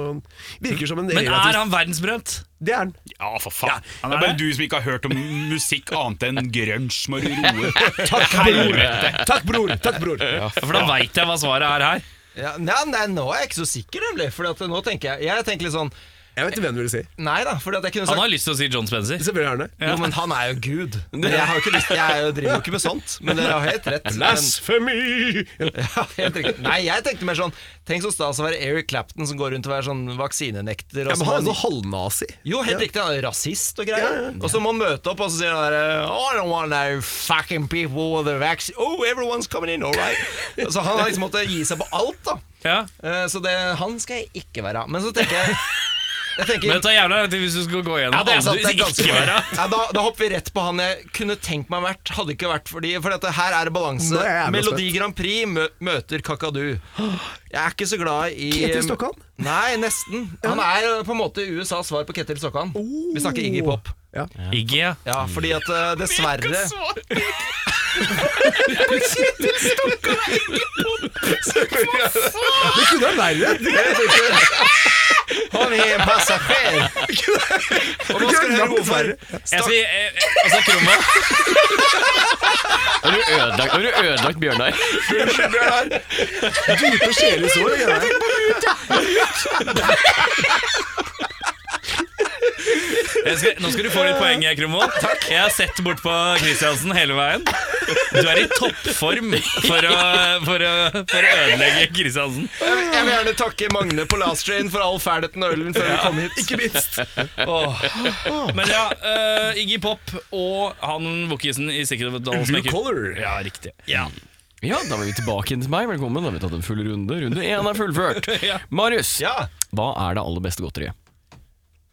Virker som en Men relativt- er han verdensberømt? Det er han. Ja, for faen. han det er er bare det. du som ikke har hørt om musikk annet enn grunge, må du roe. Takk, bror! Takk, bror! Takk, bror. For da veit jeg hva svaret er her. Ja, nei, nei, nå er jeg ikke så sikker, nemlig. For at nå tenker jeg Jeg tenker litt sånn Jeg vet ikke hvem du vil si. Nei da, fordi at jeg kunne Han sagt har lyst til å si John Spencer. Selvfølgelig er han det. Jo, men han er jo gud. <laughs> Men jeg, har jo ikke lyst, jeg er jo- driver jo ikke med sånt. Men dere har helt rett. Men, Blasfemi! <laughs> ja, helt riktig. Nei, jeg tenkte mer sånn Tenk så stas å være Eric Clapton som går rundt og er sånn vaksinenekter. Og Ja, men han er sånn. sånn halvnazi. Jo, helt riktig. Han er rasist og greier. Og så må han møte opp og så sier han der oh, I don't want no fucking people with the vaccine Oh, everyone's coming in, all right. <laughs> så han har liksom måttet gi seg på alt, da. Ja. Eh, Så det, han skal jeg ikke være. Men så tenker jeg, jeg tenker, Men det tar jævla lang tid hvis du skal gå gjennom ja, det er sant, alle det er du ganske ikke bra. være. ja, da, da hopper vi rett på han jeg kunne tenkt meg vært. Hadde ikke vært fordi For dette her er det Nå balanse. er jeg jævlig Melodi Grand Prix mø møter Kakadu. Jeg er ikke så glad i eh, Ketil Stokkan? Nei, nesten. Han er eh, på en måte USAs svar på Ketil Stokkan. Vi snakker Iggy Pop. Iggy, ja. Ja, fordi at eh, dessverre Det kunne vært verre! Han er en passasjer. Og nå skal du høre hvorfor. Jeg skal, eh, eh, altså, Kromma Har du ødelagt, har du ødelagt Bjørnar? Dype sjelesår. det greier jeg. jeg skal, Nå skal du få litt poeng, jeg, Krommo. <laughs> Jeg har sett bort på Kristiansen hele veien. Du er i toppform for å, for å, for å ødelegge Kristiansen. Jeg vil jeg vil gjerne takke Magne på Last Train for all ferdigheten og ølen før vi kom hit. Ikke minst. Men ja, eh, Iggy Pop og han vokkisen i Sikkert Dalen som Blue ikke collar. Ja, riktig. Ja. Ja, da var vi tilbake inn til meg. Velkommen. Da har vi tatt en full runde. Runde én er fullført. <laughs> Marius, Ja. hva er det aller beste godteriet?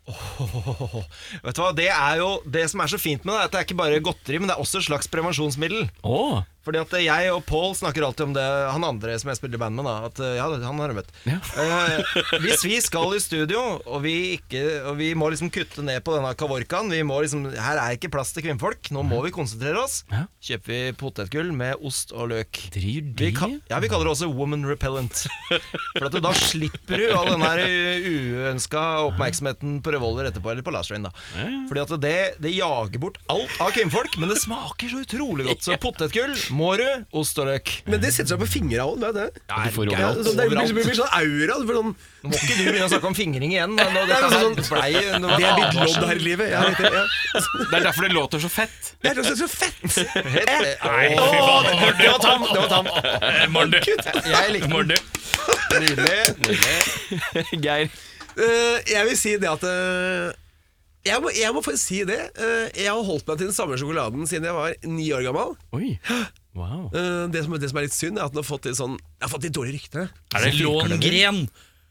Vet du hva, Det er jo det som er så fint med det, er at det er ikke bare godteri, men det er også et slags prevensjonsmiddel. Åh, Fordi at jeg og Paul snakker alltid om det Han andre som jeg spiller i band med, da. At ja, han har jeg møtt. Eh, hvis vi skal i studio, og vi, ikke, og vi må liksom kutte ned på denne kavorkaen vi må liksom, Her er ikke plass til kvinnfolk. Nå må vi konsentrere oss. Ja. Kjøper vi potetgull med ost og løk. driver Vi, de ka- ja, vi kaller det også woman repellent. <laughs> For at du, da slipper du all den her uønska oppmerksomheten på revolver etterpå, eller på last train, da. Fordi at det, det jager bort alt av kvinnfolk, men det smaker så utrolig godt. Så potetgull, mårud, ost og løk. Men det setter seg på fingra òg. Det, er det. Du får Ja, overalt. sånn, det blir, blir, blir sånn aura. Det blir sånn, Nå må ikke du begynne å snakke om fingring igjen. men nå- Nei, Dette men her sånn- blei det er mitt lodd her i livet. Ja, det, ja. Det er derfor det låter så fett. det er så, så fett! Nei, Det var tam! Det var tam. Morn, du. Jeg likte den. Morn, du. Nydelig. Geir. Eh, jeg vil si det at eh, jeg, må, jeg må faktisk si det. Eh, jeg har holdt meg til den samme sjokoladen siden jeg var ni år gammel. <gasps> Oi. Wow. Eh, det, som, det som er litt synd, er at den har fått litt sånn Jeg har fått litt dårlige rykter. Er det långren?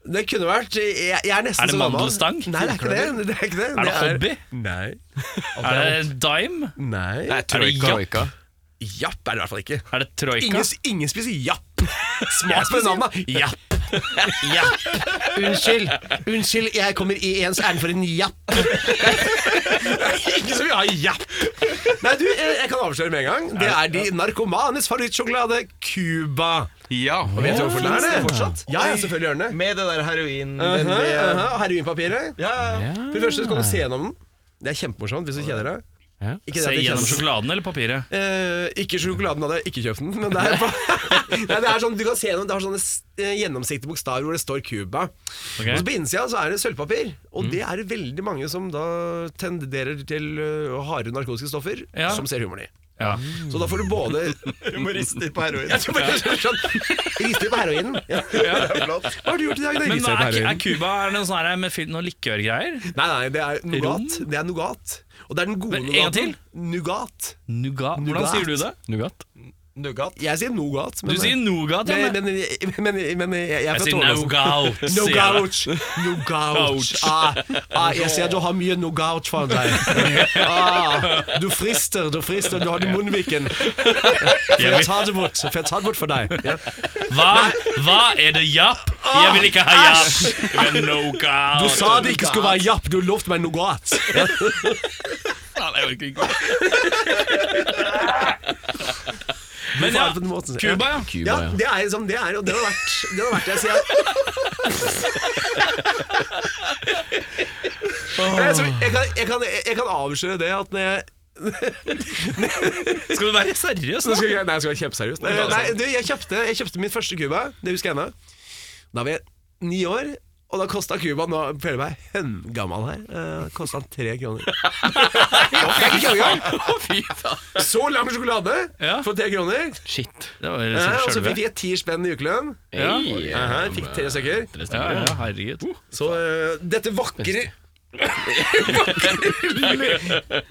Det kunne vært jeg, jeg er, nesten Er det så gammel. mandelstang? Nei, det er ikke det. det, er ikke det. Er det hobby? Nei. Er det dime? Nei. Er det japp? Japp er det i hvert fall ikke. Er det troika? Ingen, ingen spiser <laughs> japp. Smak på det navnet. da. <laughs> Japp. Unnskyld, unnskyld, jeg kommer i en, så er den for en japp. <laughs> Ikke så mye av japp. Nei, du, jeg, jeg kan avsløre med en gang. Det er de narkomanes favorittsjokolade, Cuba. Ja. Vet du hvorfor den er det? Fortsatt? Ja, ja, selvfølgelig gjør den det. Med det der heroin... Uh den- det- Heroinpapiret. Ja, ja, ja. For det første så kan du se gjennom den. Det er kjempemorsomt hvis du kjeder deg. Ja. Ikke det at Se det gjennom kjennes- sjokoladen eller papiret? Eh, ikke sjokoladen hadde jeg ikke kjøpt den, men det er, <laughs> Nei, det er sånn, du kan se gjennom, det har sånne s- eh, gjennomsiktige bokstaver hvor det står Cuba. Ok. Mm. Og så på innsida så er det sølvpapir, og det er det veldig mange som da tenderer til eh, harde narkotiske stoffer, Ja. som ser humoren i. Ja. Så da får du både <laughs> Humorister på heroin. Jeg tror bare- sånn, Rister på heroinen. <laughs> Ja. Hva har du gjort i dag? da? Men Rister hva er, på er heroinen. Cuba er det noe sånn her med fylt noe likørgreier? Nei, nei, det er nougat. Det er nougat. Og det er den gode Men en gang nougaten. Nougat. Nougat? Hvordan Nougat. sier du det? Nougat. Nougat. Jeg sier nougat. Du sier nougat, ja. men, Men men, men, men, men jeg er jeg fra sier nougat. Torgårdsen. <laughs> sier jeg da. Nougat. Nougat. Ah, ah, jeg ser du har mye nougat foran deg. Ah, du frister, du frister. Du har det i munnviken. Får jeg ta det bort? Får jeg ta det bort for deg? Ja. Hva? Hva er det japp? Jeg vil ikke ha japp. Men nougat. Du sa det ikke skulle være japp, du lovte meg nougat. Faen, jeg orker ikke. Men ja, på den måten. Ja. Cuba, ja. Ja, det er som det er, og det har vært det har vært det siden jeg, så, jeg, kan, jeg, kan, jeg kan avsløre det at når jeg Skal du være seriøs Nå nå? skal jeg, nei, jeg altså. skal være kjempeseriøs. Nei, Eh, nei, du, jeg, kjøpte, jeg kjøpte min første Cuba, det husker jeg ennå. Da var jeg ni år, og da kosta Cuba Nå føler jeg meg høngammal her. Uh, kosta han tre <laughs> kroner. Det er ikke køddegang! Fy faen. Så lang sjokolade Ja. for tre kroner. Shit. Det var Eh, og liksom så fikk sjølve. jeg ti spenn i ukelønn. Ja. Hey, Eh, fikk tre stykker. Ja, Uh. ja, herregud. Så eh, dette vakre vakre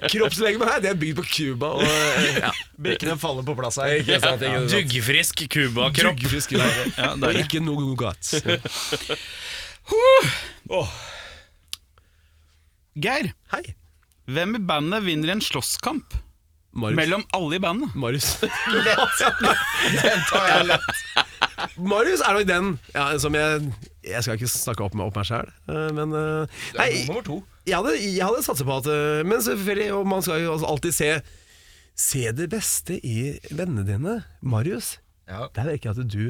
Kroppslegemet her, det er bygd på Cuba. Og eh, ja. Brikkene faller på plass her. Ikke sant? Ikke sant? Duggfrisk Cuba-kropp. duggfrisk Cuba. Ja, Og deilig. ikke noe nougat. Geir, Hei, hvem i bandet vinner en slåsskamp Marius. mellom alle i bandet? Marius. <laughs> Den tar jeg lett. Marius er nok den ja, som jeg Jeg skal ikke snakke opp meg, opp meg sjæl, men eh, Nei, Nummer to. jeg hadde, jeg hadde satset på at eh, Men selvfølgelig, og man skal jo altså alltid se Se det beste i vennene dine, Marius. Ja. Der virker at du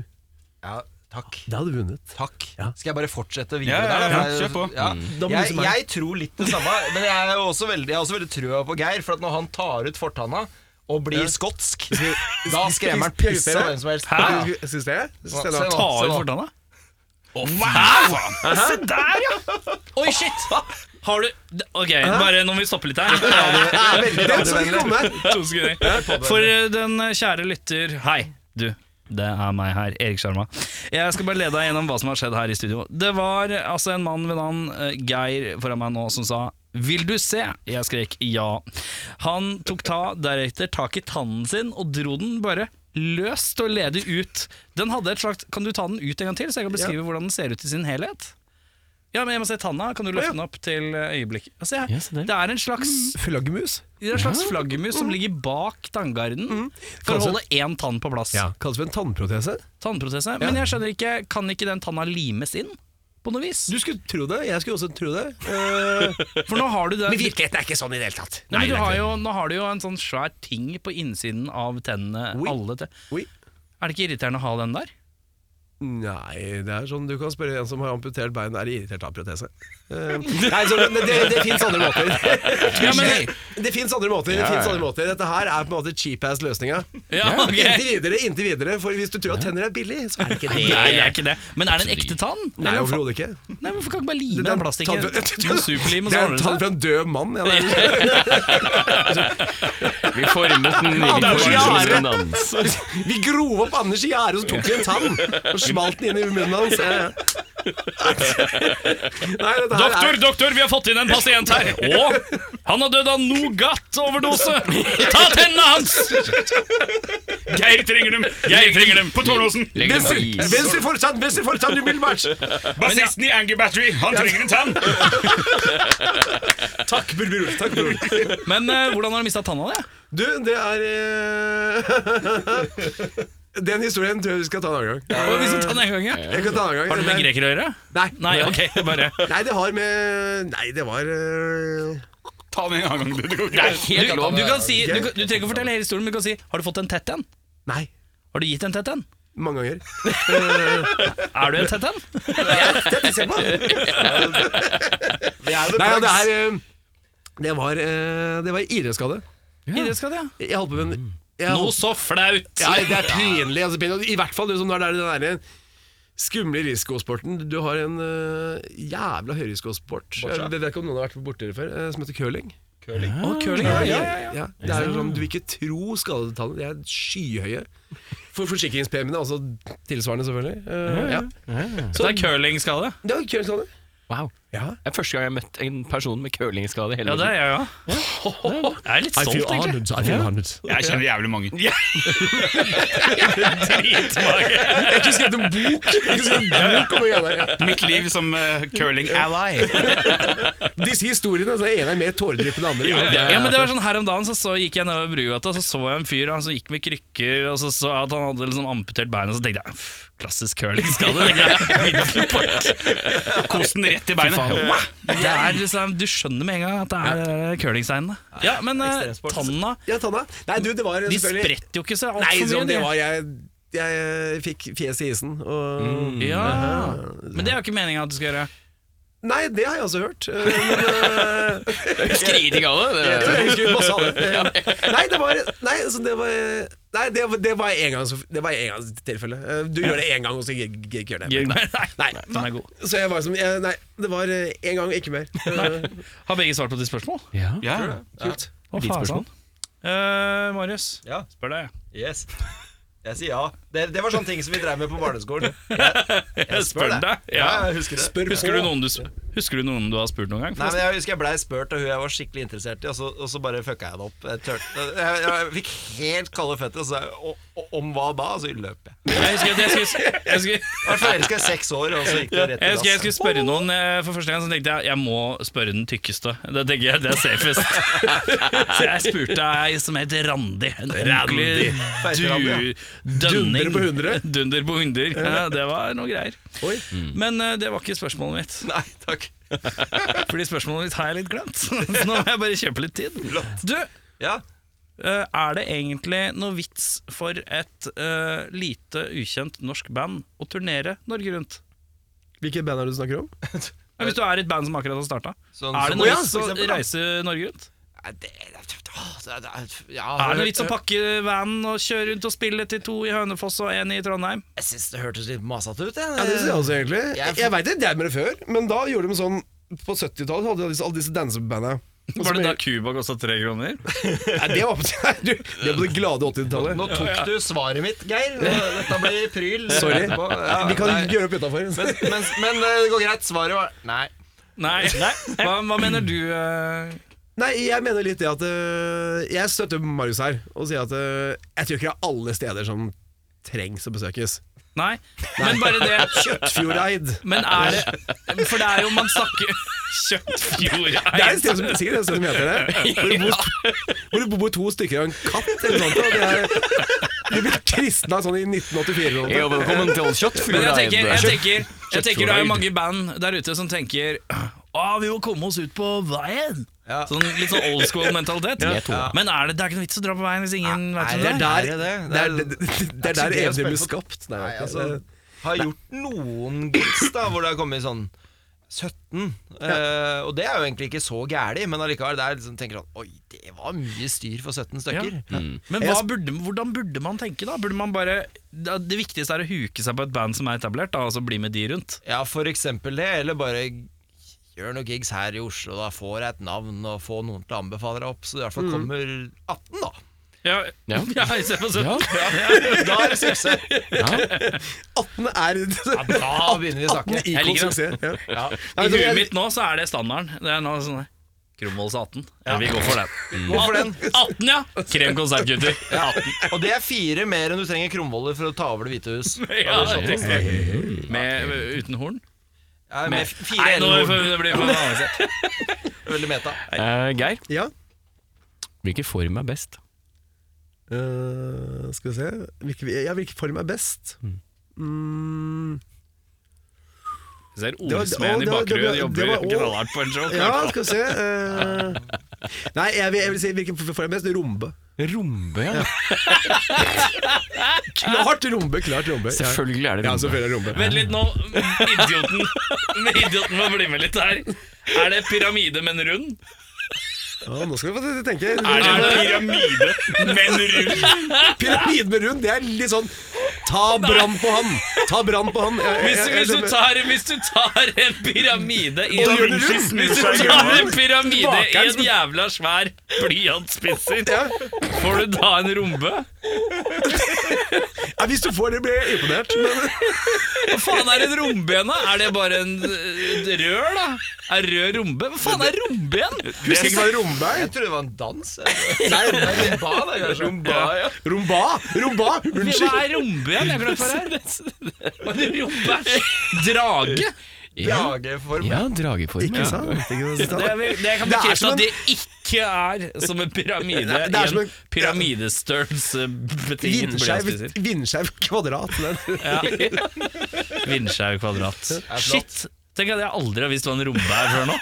Ja, takk. Det hadde du vunnet. Takk. Ja. Skal jeg bare fortsette Ja, videre ja, ja, der? da? kjør på. Ja. Da må du Jeg, som er- jeg tror litt det samme, men jeg er jo også veldig, jeg har også veldig trua på Geir. For at når han tar ut fortanna og blir skotsk, da skremmer han piss av hvem som helst. Hæ? Syns det? Syns det Se da? nå, Ta se ut nå. fortanna. Å, faen! Se der, ja! Oi, shit! Har du Ok, bare nå må vi stoppe litt her. Det er så vi kommer. <laughs> To sekunder. For eh, den eh, kjære lytter Hei, du. Det er meg her, Erik Sjarma. Jeg skal bare lede deg gjennom hva som har skjedd her i studio. Det var eh, altså en mann ved navn eh, Geir foran meg nå som sa vil du se? Jeg skrek ja. Han tok ta deretter tak i tannen sin og dro den bare løst og ledig ut. Den hadde et slags Kan du ta den ut en gang til, så jeg kan beskrive hvordan den ser ut i sin helhet? Ja, men jeg må se tanna. Kan du løfte den opp til eh, øyeblikket? Ja, Se Ja, her. se der. Mm. Det er en slags Flaggermus. det er en slags flaggermus som ligger bak tanngarden for å Kanskje- holde én tann på plass. Kalles for en tannprotese. Tannprotese. Men jeg skjønner ikke, kan ikke den tanna limes inn på noe vis? Du skulle tro det, jeg skulle også tro det. Eh, For nå har du den virkeligheten er ikke sånn i det hele tatt. Nei, men du har jo, Nå har du jo en sånn svær ting på innsiden av tennene. Oi. Alle te Oi. Er det ikke irriterende å ha den der? Nei, det er sånn du kan spørre en som har amputert bein, er de irritert av protese? <laughs> Eh, nei, så det, det, det fins andre <laughs> måter. Ja, men- det fins andre måter. Det finnes andre måter Dette her er på en måte cheap ass-løsninga. Ja, ok. <laughs> Inntil videre, inntil videre. For hvis du tror at tenner er billig, så er det ikke det. Nei, det er ikke det. Men er det en ekte tann? Nei, overhodet ikke. Nei, Hvorfor kan du ikke bare lime Det er den en plastikken? tann- Med superlim, og <laughs> Det så er en ordner tann det seg? fra en død mann. <laughs> Ja, det er- Vi formet den Ja, det er så jære. respondans. Vi grov opp Anders i gjerdet, og så tok vi en tann og smalt den inn i munnen hans. Eh. Nei, dette her Doktor, er <laughs> doktor, vi har fått inn en pasient <laughs> her. Å, han har dødd av <laughs> Nougat-overdose. Ta tennene hans! Geir trenger dem. Geir trenger dem. På Tårnåsen. Legg den på Venstre, is. venstre fortann, venstre fortann umiddelbart! Bassisten i Anger Battery, han trenger en tann. Takk, bror. Takk, bror. Men eh, hvordan har du mista tanna di? Du, det er eh, <laughs> Den historien tror jeg vi skal ta en annen gang. Har du mistet tanna en gang, ja? Jeg kan ta en annen gang. Har det med Det er- greker å gjøre? Nei. Nei, ok, <laughs> bare <laughs> Nei, det har med Nei, det var eh, Ta den en annen gang. du. Det går greit. du, du, kan si, du, kan- du trenger ikke å fortelle hele historien, men du kan si Har du fått en tett en? Nei. Har du gitt en tett en? Mange ganger. Er du en tett en? Dette ser på! Nei, ja, det er eh, Det var, eh, det var idrettsskade. Idrettsskadd, <laughs> ja. Jeg holdt på med en jeg Noe holdt- så flaut. Ja, det er pinlig. Altså, pinlig. I hvert fall liksom, når det er den der skumle risikosporten. Du har en øh, jævla høyrisikosport. Jeg vet ikke om noen har vært borti det før, øh, som heter curling. Å, Ah, curling, ja, ja, ja. Ja, det er sånn du vil ikke tro skadetallene. De er skyhøye. For forsikringspremiene, altså tilsvarende, selvfølgelig. Øh, ja. Så det er curlingskade. Det var curlingskade. Wow. Det er første gang jeg har møtt en person med curlingskade i hele Ja, det mitt er jeg òg. Jeg er litt stolt, egentlig. I feel honored. Jeg kjenner jævlig mange. Dritmange. Jeg kunne skrevet en bok! Jeg kunne skrevet en bok om det greia der. Mitt liv som eh, curling ally. Disse historiene, så er ene er mer tåredryppende enn andre. Ja, men det var sånn Her om dagen så, så gikk jeg nedover Brugata, så så jeg en fyr han som gikk med krykker, og så så jeg at han hadde liksom amputert beinet, og så tenkte jeg "Pff, Klassisk curlingskade. <laughs> Kosten rett i beinet. Det er liksom, du skjønner med en gang at det er eh, curlingseinene. Ja, men eh, tanna Ja, Tanna. Nei, du, det var De selvfølgelig spretter jo ikke så Nei, altfor mye. sånn, det de. var jeg Jeg eh, fikk fjeset i isen, og Ja, Men det er jo ikke meninga at du skal gjøre. Nei, det har jeg også hørt. eh, Men <laughs> eh, Skriting av det. Jeg tror jeg husker masse av det. Nei, det var Nei, altså, det var Nei, det, var- det var engangstilfelle. Eh, Du gjør det én gang, og så gidder jeg ikke gjøre det. Nei, Nei. den er god. Så jeg var som jeg, Nei, det var én gang, ikke <laughs> mer. Eh, Har begge svart på ditt spørsmål? Ja. Kult. Å, Ditt faen. spørsmål? Eh, Marius, Ja. spør deg. Yes. Jeg sier ja. Det, det var sånne ting som vi drev med på barneskolen. Jeg, jeg spør Spør det. deg. Ja. Ja, jeg husker det. Spør Husker, på. du noen du, husker du noen du har spurt noen gang? Nei, men Jeg husker jeg blei spurt av hun jeg var skikkelig interessert i, og så, og så bare fucka jeg det opp. Jeg, tør, jeg, jeg fikk helt kalde føtter, og så sa jeg "Og- og om hva da? Og så løp jeg. Jeg husker at jeg skulle, jeg skulle, Jeg var forelska i seks år, og så gikk det rett jeg husker jeg i dass. skulle spørre noen eh, for første gang, så tenkte jeg jeg må spørre den tykkeste. Da tenker jeg det er <laughs> safest. Så jeg spurte ei som het Randi. En ordentlig Feite Randi, du, dønning. Dunder på hundre. <laughs> Dunder på hundre. Ja, det var noe greier. Oi. Men eh, det var ikke spørsmålet mitt. <laughs> Nei, takk. Fordi spørsmålet mitt har jeg litt glemt. <laughs> Så nå må jeg bare kjøpe litt tid. Du, Ja, Eh, er det egentlig noe vits for et eh, lite ukjent norsk band å turnere Norge rundt? Hvilket band er det du snakker om? Ja, hvis du er et band som akkurat har starta, Sånn er det som- noe Å ja, vits for å eksempel, da. reise Norge rundt? Nei, det, det, åh, det, det, sånn- ja, Er det litt som pakke vanen og kjøre rundt og spille til to i Hønefoss og én i Trondheim? Jeg syns det hørtes litt masete ut. Jeg. Ja, det synes jeg også egentlig Eh, Jeg- Jeg, jeg veit det, jeg med det før, men da gjorde de sånn På 70-tallet hadde de disse- alle disse dansebandene. Og så- Var det da Cuba kosta tre kroner? Nei, det var <laughs> på, du, det var på det glade 80-tallet. Nå tok du svaret mitt, Geir. Dette blir pryl. Sorry. Etterpå. Ja, Vi kan nei. gjøre opp utafor. men, men, men eh, det går greit. Svaret var nei. <laughs> Nei. Hva, hva mener du? eh? Nei, jeg mener litt det at øh, Jeg støtter Marius her og sier at øh, jeg tror ikke det er alle steder som trengs å besøkes. Nei. Men bare det. Kjøttfjordeid. Men er det For det er jo man snakker Kjøttfjord Det er et sted som sikkert et sted som heter det. Hvor det bor, hvor det bor to stykker og en katt eller noe sånt. og det er- Du blir kristna sånn i 1984 eller noe. Jo, velkommen til Kjøttfjord. Men jeg tenker, jeg tenker, jeg tenker det er jo mange band der ute som tenker Å, vi må komme oss ut på veien! Ja. Sånn, litt sånn old school-mentalitet. Men er det, det er ikke noe vits å dra på veien hvis ingen vet Nei, hvem Det er det er. Er der, det det? det er, det, det er så gøy der å eventyret spille blir på- skapt. Nei, Nei, det er altså, ikke- har gjort noen gigs da hvor det har kommet sånn 17. eh, og det er jo egentlig ikke så gærent, men allikevel det er liksom, tenker sånn Oi, det var mye styr for 17 stykker. Men hva burde, hvordan burde man tenke, da? Burde man bare da- Det viktigste er å huke seg på et band som er etablert, da, og så bli med de rundt. Ja, for eksempel det, eller bare gjør noen gigs her i Oslo, da får jeg et navn, og få noen til å anbefale deg opp, så du i Mm. hvert fall kommer 18, da. Ja, <laughs> ja. i stedet for sånn. <laughs> Da er det suksess. 18 er Da begynner vi å snakke. 18 Jeg ikon liker suksess. Ja. Ja. I Nei, så huet jeg- mitt nå så er det standarden. Det er nå sånn der, Kromvolls 18. Ja, vi går for <laughs> den. Gå for den. 18, ja! Krem konsert, gutter. 18. Og det er fire mer enn du trenger krumvoller for å ta over Det hvite hus. <laughs> Ja, riktig. Med, uten horn? Ja, med f- fire Nei, nå eller noe. får- det blir for avansert. Veldig meta. Eh, Geir, ja. hvilken form er best? Eh, skal vi se hvilken, ja, hvilken form er best? Mm. Ser var- ordsmeden å, i det var- det bakgrunnen var- det jobber var- å. knallhardt på en show. Ja, skal vi se eh, Nei, jeg vil, jeg vil si hvilken form er best. Rombe. Rombe, ja. Klart rombe! klart rombe Ja. Selvfølgelig er det Ja, rombe. selvfølgelig er det rombe. Vent litt nå, idioten <laughs> Idioten må bli med litt her. Er det pyramide, men rund? Ja, nå skal vi få Er tenke. det, Pyramide, men rull. Pyramiden med rund, det er litt sånn Ta brann på han! Ta brann på han! Jeg- hvis, jeg- jeg hvis, du skjønner. tar, hvis du tar en pyramide i gjør den rund. Hvis du tar en pyramide i sånn. en jævla svær blyantsspisser, Ja. får du da en rombe? Ja, hvis du får det, blir jeg imponert. Hva Men faen er et romben, da? Er det bare en eh, et rør, da? Er rød rombe? Hva faen er romben? det skal ikke være rombein. Jeg trodde det var en dans. jeg. Nei, det er rumba, da, kanskje. Rumba, ja. Romba! Romba! Hva Unnskyld. er romben? Jeg glemte hva det er. Hva er Rombe er drage? Drageform. Ja, drageform. Ikke sant? Ikke sant? Det, er, vel- det kan Det er bekrefte som at en- det ikke er som en pyramide det er som i en- en pyramidestørrelse-betingelse. Vindskeiv vindskeiv kvadrat. Den. Vindskeiv kvadrat. Shit! Tenk at jeg aldri har visst hva en rombe er før nå.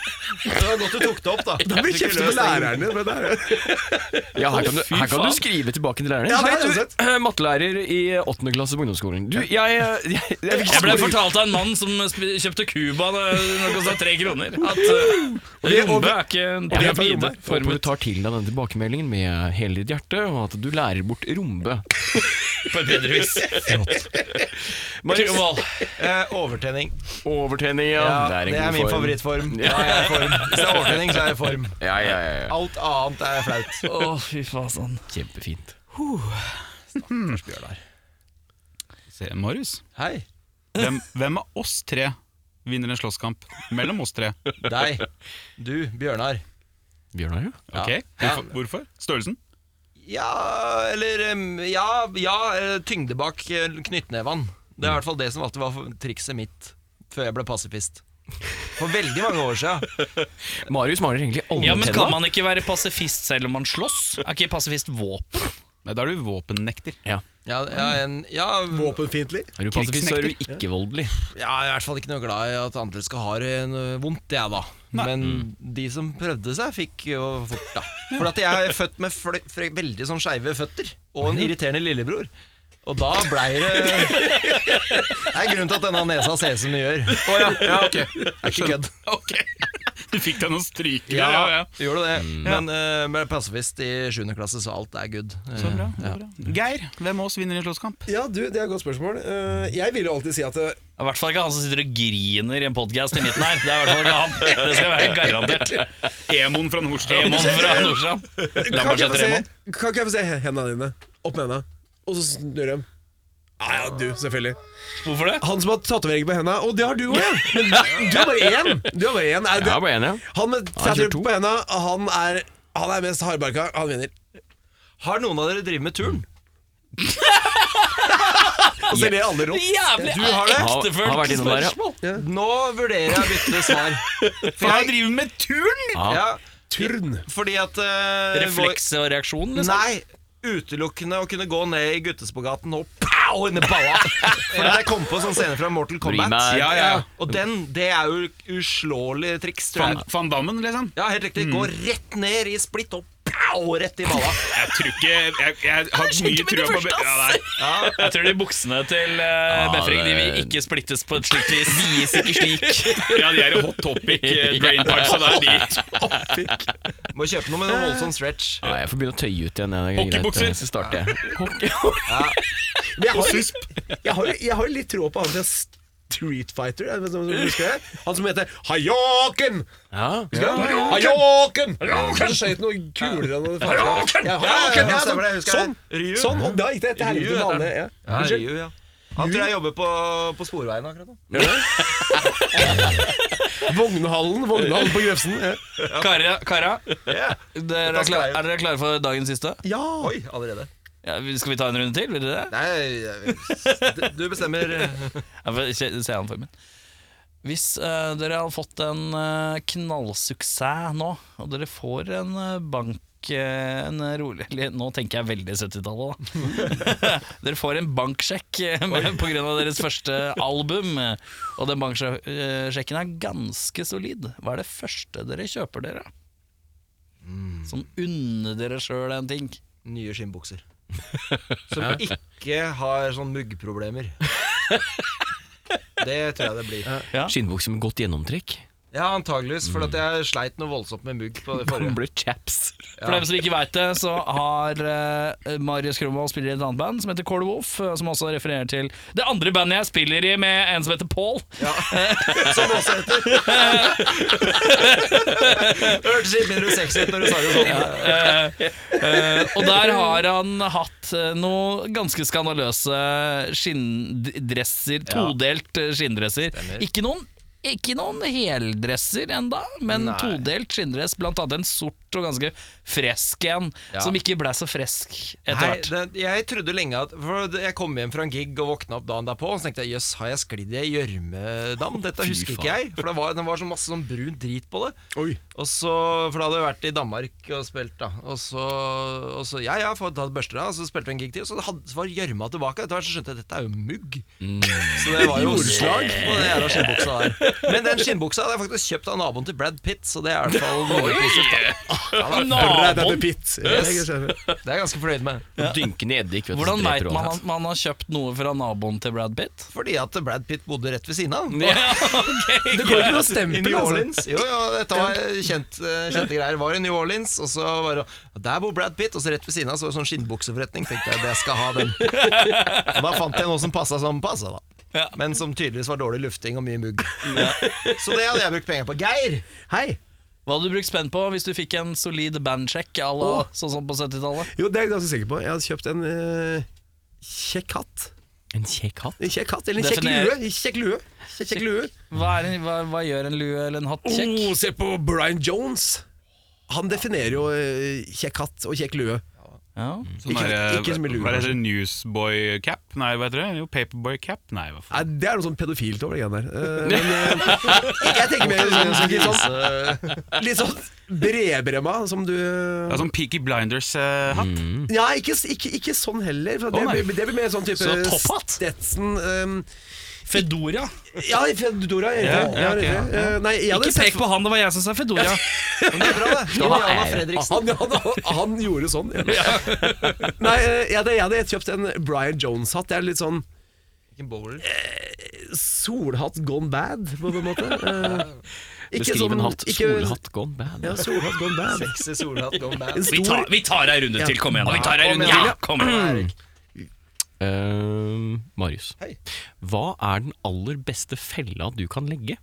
Det var godt du tok det opp, da. Da blir det kjeft på læreren din. men det er- Ja, her kan, du, Fy her kan faen. du skrive tilbake til læreren. Ja, det Hei, er du, uansett. eh, mattelærer i åttende klasse på ungdomsskolen. Du, jeg, eh, jeg, jeg, fikk Jeg ble skole- fortalt av en mann som sp- kjøpte Cuba da det kosta tre kroner, at uh, rombe er ikke Jeg en håper- jeg pyramide. håper du Formet tar til deg den tilbakemeldingen med hele ditt hjerte, og at du lærer bort rombe. på et bedre vis. Krivoll. Eh, overtenning. Overtrening, ja. Ja, en det god er min form. favorittform. Ja, jeg er form. Hvis det er overtenning, så er jeg form. Ja, ja, ja, ja. Alt annet er flaut. Å, fy faen. sånn. Kjempefint. Se, Marius, Hei. hvem, hvem av oss tre vinner en slåsskamp? Mellom oss tre. Deg. Du, Bjørnar. Bjørnar, ja. Ok, Hvorfor? hvorfor? Størrelsen? Ja, eller em, Ja, ja eh, tyngde bak eh, knyttneven. Det Mm. er i hvert fall det som alltid var trikset mitt før jeg ble pasifist. For veldig mange år siden. <laughs> Marius maler egentlig alle Ja, men Kan tenna. man ikke være pasifist selv om man slåss? Er ikke pasifist våpen? Nei, Da er du våpennekter. Ja, ja, en, ja, Våpenfiendtlig. Er du pasifist, så er du ikke voldelig. jeg er i hvert fall ikke noe glad i at andre skal ha det noe vondt, jeg, da. Men de som prøvde seg, fikk jo fort, da. For at jeg er født med fle- fre- veldig sånn skeive føtter, og en irriterende lillebror. Og da blei det <laughs> Det er grunnen til at denne nesa ser ut som den gjør. Oh, ja. Ja, Er ikke kødd. Ok, Du fikk deg noen stryker Ja, der, ja, ja. gjorde det. Men uh, med passivist i 7. klasse, så alt er good. Eh, Så bra, så bra. Geir, hvem av oss vinner en slåsskamp? Ja, du, det er et godt spørsmål. Eh, Jeg vil jo alltid si at eh, I hvert fall ikke han som sitter og griner i en podkast i midten her. Det er i hvert fall ikke han. Det skal være garantert. Emon fra Nordstrand. Emon fra Nordstrand. La Kan meg ikke jeg få sette Emon. se, kan ikke jeg få se hendene dine? Opp med hendene. Og så snur de. Ja, ja, du, selvfølgelig. Hvorfor det? Han som har tatovering på hendene. Og det har du òg, ja! Men du har bare én! Du har bare én. Ja, Er det, bare enig, ja. han med kjører tatovering to. på hendene, han er, han er mest hardbarka. Han vinner. Har noen av dere drevet med turn? Og så ler Altså, alle rått. Jævlig Du har Har- har vært det? ektefølt innom der, ja. spørsmål. Nå vurderer jeg å bytte svar. For jeg driver med turn! Ja, Turn. fordi at eh, Refleks og reaksjon, vår- liksom. Nei. Utelukkende å kunne gå ned i guttespagaten og pow inn i balla. For jeg kom på en sånn scene fra Mortal Kombat. meg. Ja, ja, ja. Og den, det er jo uslåelig triks, tror Van, jeg. Van Dammen, liksom? Ja, helt riktig. Gå rett ned i splitt og pow rett i balla. Jeg tror ikke Jeg, jeg har mye trua på ja, nei. Jeg tror de buksene til uh, Befring de vil ikke splittes på et slikt vis. Vies ikke slik. Ja, de er hot topic <laughs> eh, brain parts, så det er de. Må kjøpe noe med noe voldsom stretch. Ja, jeg får begynne å tøye ut igjen. det er greit. eh, Hockeybukser. Så starter jeg. Hockey. Men jeg har, jeg har, jeg har litt tråd på han fra Street Fighter. Er det noen som husker det? Han som heter Hayoken! Ja. Hayoken! Han skjøt noen kuler og noe. Hayoken! Ja, Hayoken! Ja, stemmer det, sånn, jeg husker sånn, det. Ryu. sånn! Og da gikk det til helvete med alle. Ja. Ja, Ryu, ja. Han tror jeg jobber på, på Sporveien akkurat nå. Vognhallen, vognhallen på Grefsen. Ja. Kara, Kara dere er, klar, er dere klare for dagens siste? Ja. Oi, allerede. Ja, skal vi ta en runde til? Vil dere det? Nei, jeg- du bestemmer. eh, Jeg får se, se han for meg. Hvis eh, dere har fått en eh, knallsuksess nå, og dere får en eh, bank eh, en rolig, eller Nå tenker jeg veldig 70-tallet, da. <laughs> Dere får en banksjekk eh, pga. deres første album. eh, Og den banksjekken er ganske solid. Hva er det første dere kjøper dere? Som unner dere sjøl en ting? Nye skinnbukser. Som ikke har sånn muggproblemer. Det tror jeg det blir. Skinnbukse med godt gjennomtrekk. Ja, antageligvis, for at jeg sleit noe voldsomt med mugg på det forrige. Blir chaps. For dem som ikke veit det, så har eh, Marius Krumvold spiller i et annet band som heter Cold Wolf, eh, som også refererer til det andre bandet jeg spiller i med en som heter Paul. Som også heter <laughs> Hørtes litt mindre sexy ut når du sa det sånn. Eh, eh, og der har han hatt eh, noe ganske skandaløse skinndresser, todelt eh, skinndresser. Ikke noen ikke noen heldresser enda, men todelt skinndress, blant annet en sort og ganske fresk en, som ikke ble så fresk etter Nei, hvert. det, jeg trodde lenge at For det- jeg kom hjem fra en gig og våkna opp dagen derpå, og så tenkte jeg jøss, har jeg sklidd i ei gjørmedam? Dette husker ikke jeg. For det var, det var så masse sånn brun drit på det. Og så, For da hadde jeg vært i Danmark og spilt, da. Og så, og så ja, ja, få tatt børster av, og så spilte vi en gig til, og så, hadde, så var gjørma tilbake. Etter hvert så skjønte jeg at dette er jo mugg. Mm. Så det var jo oppslag på den jævla skinnbuksa der. Men den skinnbuksa hadde jeg faktisk kjøpt av naboen til Brad Pitt, så det er i hvert fall noe positivt. Naboen! <laughs> da. Det er jeg ganske fornøyd med. Dynkende eddik. vet du, Hvordan som veit dreper man overalt. at man har kjøpt noe fra naboen til Brad Pitt? Fordi at Brad Pitt bodde rett ved siden av. ok Det går ikke noe I stempel, New altså. Orleans. Jo, jo, dette var kjent, eh, kjente greier. Var i New Orleans, og så var det Der bor Brad Pitt, og så rett ved siden av så var det sånn skinnbukseforretning. Tenkte jeg det skal ha den. Og da fant jeg noe som passa som passa, da. Men som tydeligvis var dårlig lufting og mye mugg. Så det hadde jeg brukt penger på. Geir! Hei! Hva hadde du brukt spenn på hvis du fikk en solid bandsjekk à la sånn som på 70-tallet? Jo, det er jeg ganske sikker på. Jeg hadde kjøpt en eh, kjekk hatt. En kjekk hatt? En kjekk hatt, eller en kjekk Definer. lue. En Kjekk lue. Kjekk, kjekk lue. Hva, er en, hva, hva gjør en lue eller en hatt kjekk? Oh, se på Brian Jones. Han definerer jo eh, kjekk hatt og kjekk lue. Ja. Mm. Ikke- ikke så mye lue, Hva heter kanskje. det? Newsboy cap? Nei, hva heter det? Jo, paperboy cap? Nei, hva faen. Nei, Det er noe sånn pedofilt over det greiene der. Eh, men, eh, jeg tenker mer sånn, sånn, litt sånn, litt sånn bredbremma, som du Det er sånn Peaky eh, Blinders-hatt. Ja, ikke, ikke, ikke sånn heller. For det, Å, nei. blir, det blir mer sånn type Så topphatt? Stetson um, Fedora? Ja, Fedora. Ja, Ja, ja, ok, ja. Eh, nei, jeg hadde Ikke sett pek på han, det var jeg som sa Fedora. Men det er bra, det. Jana Fredriksen. Han, han, han gjorde sånn. Ja. <laughs> Nei, eh, jeg hadde, jeg hadde kjøpt en Brian Jones-hatt. Det er litt sånn solhatt gone bad, på en måte. <laughs> Eh, ikke Beskriv sånn- en hatt. ikke- Solhatt gone bad. Ja, solhatt gone bad. Sexy solhatt gone bad. En Vi tar, stor vi tar ei runde til, kom igjen. da. Vi tar ei runde igjen. til, ja, kom igjen. Eh, Mm. Marius, Hei. hva er den aller beste fella du kan legge?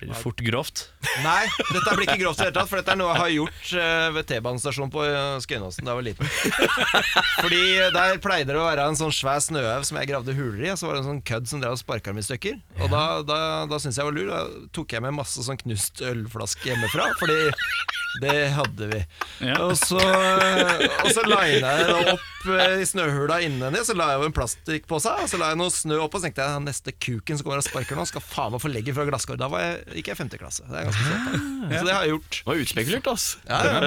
Blir det fort grovt? Nei, dette blir ikke grovt i det hele tatt, for dette er noe jeg har gjort eh, ved T-banestasjonen på eh, Skøyenåsen da jeg var liten. Fordi eh, der pleide det å være en sånn svær snøhaug som jeg gravde huler i, og så var det en sånn kødd som drev og sparka dem i stykker. Og da, da, da syntes jeg var lur. Da tok jeg med masse sånn knust ølflaske hjemmefra, fordi det hadde vi. Og så, og så lina jeg det opp eh, i snøhula innvendig, så la jeg over en plastikkpose, og så la jeg noe snø oppå, så tenkte jeg neste kuken som kommer og sparker nå, skal faen meg få legge fra glasskår. Da var jeg, gikk jeg i femte klasse. Det er Ah, ganske søtt. da. Så det har jeg gjort. Det var utspekulert, ass. Ja, det er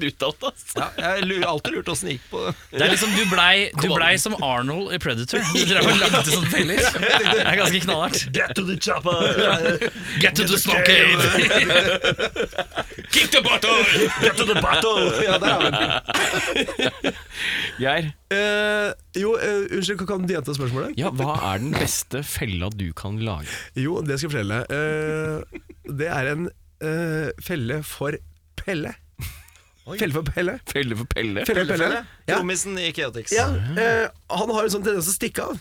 <laughs> Brutalt, ass. Ja, jeg lurer, alltid lurt åssen det gikk på <laughs> det. Det er liksom, Du blei, du blei som Arnold i Predator. Du drev og lagde sånne feller. Det er ganske knallhardt. Get to the chopper! Get to the snow cave! Kick the bottle! Get to the bottle! Ja, der har vi den. Geir, Eh, jo, eh, unnskyld, kan- kan du gjenta spørsmålet? ja, hva er den beste fella du kan lage? Jo, det skal jeg fortelle. Eh, det er en eh, felle for Pelle. Felle for Pelle. Felle for pelle? Felle for Pelle. Ja. Trommisen Sånn i Keotix. Ja, eh, han har en sånn tendens til å stikke av.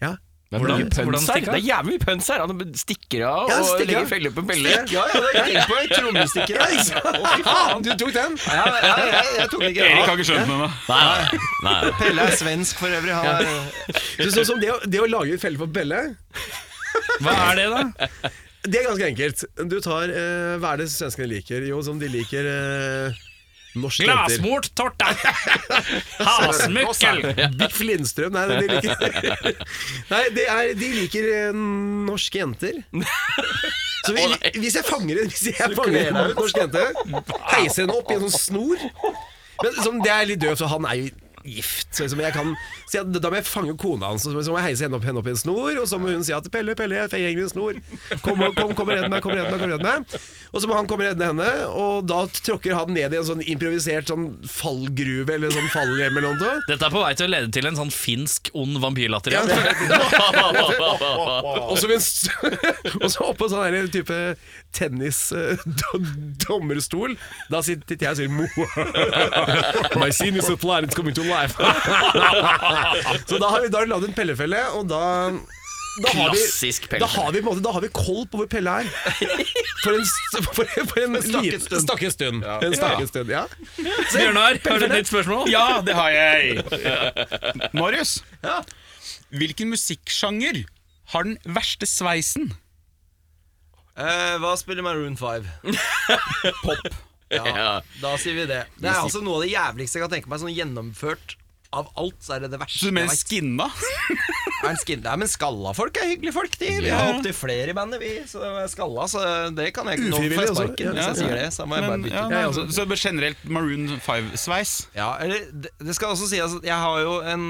Ja. Det er, Hvordan- mye pønns hvordan her. stikker det er jævlig mye pønns her. Han stikker av Ja, og stikker av. legger felle på pelle. Ja, ja, det gikk på en trommestikker. Ja, ikke sant? Du tok den! ja, ja, ja, jeg tok ikke Erik ja. har ikke skjønt det ennå. Pelle er svensk for øvrig. Han er, Så, så, som det, å, det å lage en felle for Pelle, Hva er det, da? det er ganske enkelt. Du tar eh, Hva er det svenskene liker? Jo, som de liker eh, norske jenter. Glasmort torta! Hasmøkkel! Biff Lindstrøm, nei, de liker Nei, det er, de liker eh, norske jenter. Så vi, hvis jeg fanger en Hvis jeg fanger en norsk jente, heiser henne opp i en sånn snor Men sånn, Det er litt døvt, så han er jo gift. Så liksom jeg kan, så jeg, da må jeg fange kona hans, og så må jeg heise henne opp, henne opp i en snor. Og så må hun si at 'Pelle, Pelle, jeg henger i en snor'. Kom, og- kom, kom og redd meg, kom og redd meg. kom og redd meg Og så må han komme og redde henne, og da tråkker han ned i en sånn improvisert sånn fallgruve eller sånn fallrem eller noe. Dette er på vei til å lede til en sånn finsk ond vampyrlatter. Ja. igjen. Og så, minst, <laughs> og så oppå sånn her type <laughs> tennis-dommerstol. Da sitter jeg og sier «Mo». <laughs> My senior supplier is coming to life. <laughs> så da har vi da lagd en pellefelle, og da da har, vi, Klassisk da, pellefelle. har vi, på en måte- da har vi koll på hvor Pelle er. For en, st- for, for en liten- stakket stund. En stakket stund, ja. Bjørnar, har du et nytt spørsmål? Ja, det har <laughs> jeg. Marius, hvilken musikksjanger har den verste sveisen? Eh, hva spiller Maroon 5? <laughs> Pop. Ja, Da sier vi det. Det er altså noe av det jævligste jeg kan tenke meg. Sånn gjennomført av alt, så er det det verste. Du jeg mener vet. skinna? Er en skin- Nei, men skalla folk er hyggelige folk, de. Vi har opptil flere i bandet, vi. Så er skalla, så det kan jeg ikke nå får Ufrivillig jeg også. sparken hvis jeg sier det. Så må jeg bare Men, ja, bytte. nei, så så generelt Maroon 5-sveis? Ja, eller det, det skal også sies at jeg har jo en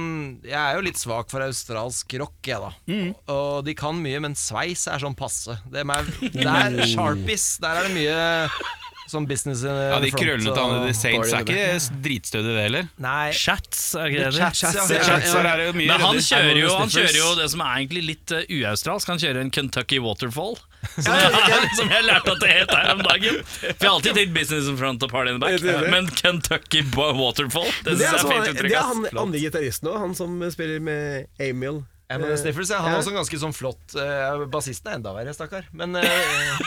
Jeg er jo litt svak for australsk rock, jeg, da. Mm. Og de kan mye, men sveis er sånn passe. Det <laughs> er, der, sharpies, der er det mye sånn business in Ja, De front krøllene og- til Anne The Saints er ikke dritstødige, det heller. Nei, Chats, er ikke det det Chats, ja. Chats, ja. Så er det jo mye Men han rødere. kjører, jo, han kjører jo det som er egentlig litt eh, uaustralsk. Han kjører en Kentucky <laughs> Waterfall, som jeg, <laughs> som jeg lærte at det het her om dagen. For jeg har alltid tenkt business in front og party in the Det er back, det. men Kentucky Bo- Waterfall, det syns Det er, jeg er altså, fint det uttrykk. er ass. han andre gitaristen òg, han som spiller med Emil. Eminem Sniffers, ja. Han Ja. er også ganske sånn flott. eh, Bassisten er enda verre, stakkar. Men <laughs> eh,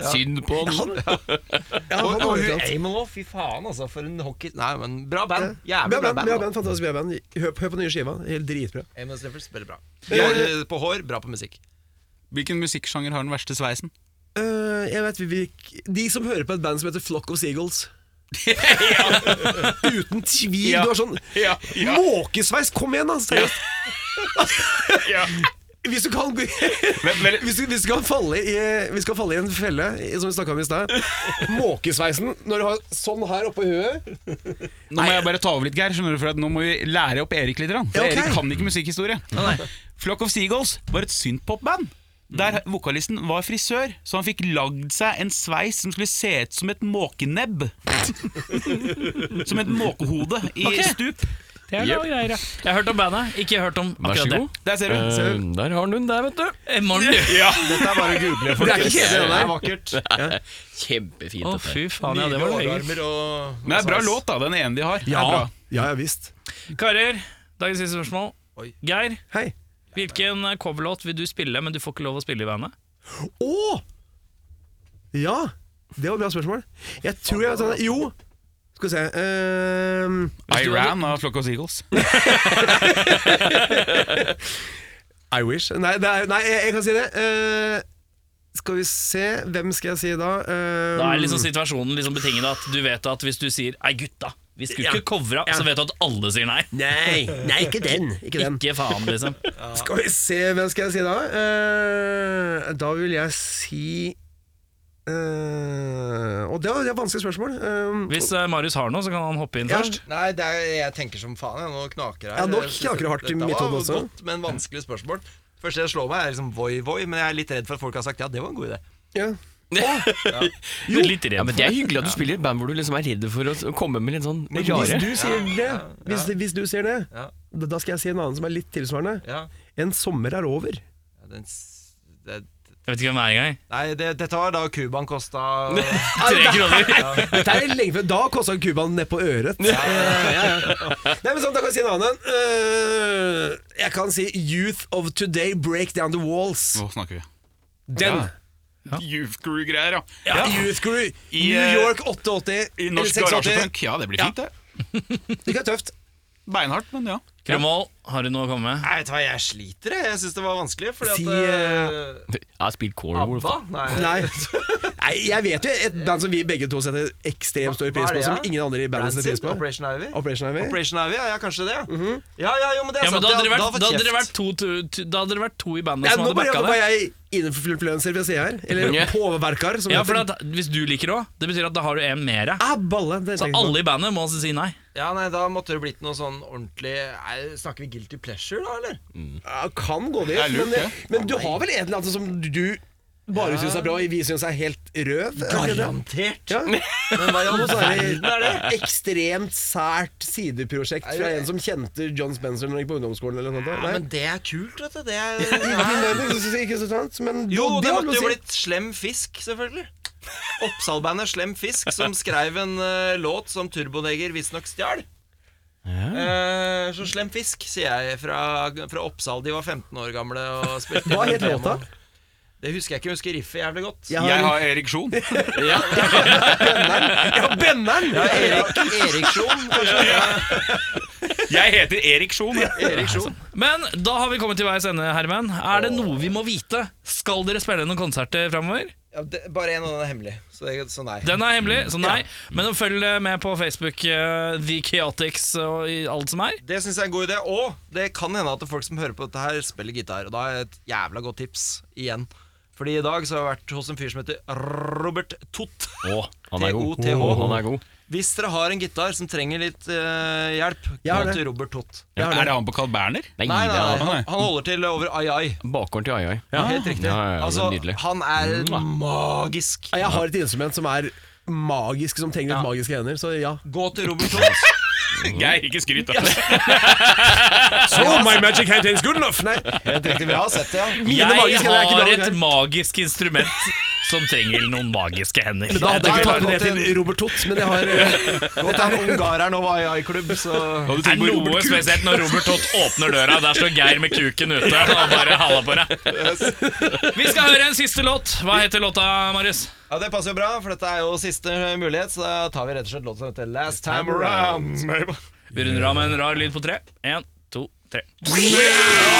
Synd på han. Ja, og, han har og hun det sant. Amel òg, fy faen, altså. For en hockey... Nei, men bra band. Bra Jævlig bra band, band. bra da. band, fantastisk bra band. Hør, hør på nye skiva. Helt dritbra. Amel Sniffers spiller bra. Bra På hår, bra på musikk. Hvilken musikksjanger har den verste sveisen? Øh, jeg vet vi, vi, De som hører på et band som heter Flock of Seagulls. Uten tvil! Du har sånn Ja, måkesveis! Kom igjen, da! Seriøst. Hvis du kan gå- <laughs> hvis, du, hvis, du kan falle i, hvis du kan falle i en felle, i- som vi snakka om i stad Måkesveisen når du har sånn her oppå huet. Nå må jeg bare ta over litt, Geir. Skjønner du, for at nå må vi lære opp Erik litt. grann. For Ja, ok. Erik kan ikke musikkhistorie. Flock of Seagulls var et synthpopband. Der vokalisten var frisør, så han fikk lagd seg en sveis som skulle se ut som et måkenebb. <laughs> som et måkehode i stup. Jeg har hørt om bandet, ikke hørt om Vær så akkurat det. god. Der ser du. Eh, der har han hun der, vet du. Eh, Morten, du. Dette er bare å google, Det er ikke Det kjedelig, det er der. vakkert. Kjempefint. Å, dette her. fy faen, ja, det var det. Lårarmer og Men det er bra låt, da. Den ene de har. Det er Ja, bra. ja, ja visst. Karer, dagens siste spørsmål. Geir, Hei. hvilken eh, coverlåt vil du spille, men du får ikke lov å spille i bandet? Å! Ja, det var et bra spørsmål. Jeg tror jeg vet hva det er. Jo, skal vi se ehm, I Ran av Flock of Seagulls. I wish. Nei, det er, nei jeg, jeg kan si det. Eh, skal vi se Hvem skal jeg si da? Ehm, Da er liksom situasjonen liksom betinget at du vet at hvis du sier 'ei, gutta, vi skulle ikke covra', så vet du at alle sier nei. Nei, nei, ikke den. Ikke den. Ikke faen, liksom. Skal vi se Hvem skal jeg si da? Eh, da vil jeg si eh, Og det var det er et vanskelig spørsmål. Ehm, Hvis eh, Marius har noe, så kan han hoppe inn ja, først. Nei, det er, jeg tenker som faen. Jeg, nå knaker det her. Ja, nå Jeg synes knaker det hardt i dette mitt var hode også. Godt, men vanskelig spørsmål. Første jeg slår meg, er liksom voi, voi, men jeg er litt redd for at folk har sagt ja, det var en god idé. ja. Litt redd Ja, men Det er hyggelig at du spiller i et band hvor du liksom er redd for å å komme med litt sånn Hvis rare du sier det, hvis, hvis du sier det Ja. da- da skal jeg si en annen som er litt tilsvarende. Ja. En sommer er over. Ja, den, s- det, Jeg vet ikke hvem det er engang. nei, det, dette var da Kuban kosta <laughs> Tre kroner. Dette er lenge før. Da kosta Cuban nedpå øret. Nei, men sånn, Da kan jeg si en annen. Øh, jeg kan si Youth of Today Break Down The Walls. Nå snakker vi. Den. Youth Crew-greier, ja. Youth Crew. I, New eh, York 88. I eller norsk 86. garasjepunk. Ja, det blir fint, det. Det er tøft. Beinhardt, men ja. Krumvoll, har du noe å komme med? Altså, Nei, vet du hva, jeg sliter, jeg. Jeg syns det var vanskelig, fordi at Si, eh, Jeg har spilt Core <laughs> ABBA? Nei. Nei. Nei, jeg vet jo et band som vi begge to setter ekstremt stor pris på, som ingen andre i bandet setter pris på. Operation Ivy? Operation Ivy. Operation Ivy, ja, ja, kanskje det. ja. Mhm. Ja, ja, jo, men det er Ja, men sant. da hadde ja, dere vært, da hadde hadde dere jeg vært, to, to- to, da hadde dere vært to i bandet Ja, som nå hadde bare backa var det. jeg innenfluenser, vil jeg si her. Ja. Eller påverkar, som Ja, det for heter. at, Hvis du liker det òg, det betyr at da har du en mere. Ah, balle! Det Så tenker jeg på. alle i bandet må altså si nei. Ja, nei, da måtte det blitt noe sånn ordentlig Nei, Snakker vi guilty pleasure, da, eller? Ja, kan gå dit, men, men du har vel en eller annen som du bare syns er bra, og vi syns er helt røv? er det ikke det? Garantert. Ja. <laughs> Men hva i all Og så er verden er det det? ekstremt sært sideprosjekt fra en som kjente John Spencer når han gikk på ungdomsskolen eller noe Ja, men sånt. det er kult, vet du. Det <laughs> Nei. er, Ikke nødvendigvis, Ikke så sant, men jo, det det har måtte noe å jo si. blitt Slem Fisk, selvfølgelig. Oppsalbandet Slem Fisk, som skrev en eh, låt som Turboneger visstnok stjal. Eh, så Slem Fisk, sier jeg, fra, fra Oppsal. De var 15 år gamle og spilte Hva inn het demo. låta? Det husker jeg ikke, jeg husker riffet jævlig godt. Jeg Jeg har har ereksjon. ja, Benneren! Ja, Erik, Erik Sjon, kanskje. Jeg heter Ereksjon. Erik Sjon. Men da har vi kommet til veis ende, Herman. Er det noe vi må vite? Skal dere spille noen konserter framover? Ja, det, bare en av den er sånn hemmelig, så, det, så nei. Den er hemmelig, så nei. Men følg med på Facebook, eh, The Chaotix og i alt som er. Det syns jeg er en god idé. Og det kan hende at det er folk som hører på dette, her spiller gitar. Og da er et jævla godt tips igjen. Fordi i dag så har jeg vært hos en fyr som heter Robert Tott. han er god. T-O-T-H. Å, han er god. Hvis dere har en gitar som trenger litt eh, hjelp, Jeg har gå det. til Robert Tott. Er det han på Carl Berner? Nei, Nei, nei, nei. det Han, han holder til over Ai Ai. er bakgården til Ai-Ai. Helt riktig. Ja, ja, ja, det er altså, nydelig. han er magisk. Ja, Jeg har et instrument som er magisk, som trenger litt magiske hender, så ja. Gå til Robert Tott. Geir, ikke skryt, da. So altså- my magic hand is good enough! Nei, Helt riktig, vi har sett det, ja. mine Jeg magiske hender er ikke bra har nok et her. magisk instrument som trenger noen magiske hender. Da hadde Nei, jeg ikke tatt med nei, det til Robert Tott, men jeg har Dette er ungareren over Ai Ai-klubb, så Hadde du Det er tenkt på noe Robert Kuhn? spesielt når Robert Tott åpner døra, der står Geir med kuken ute og bare halla på deg. Vi skal høre en siste låt. Hva heter låta, Marius? Ja, Det passer jo bra, for dette er jo siste mulighet. Så da tar vi rett og slett låten som heter Last Time Around. Vi runder av med en rar lyd på tre. En, to, tre. Yeah!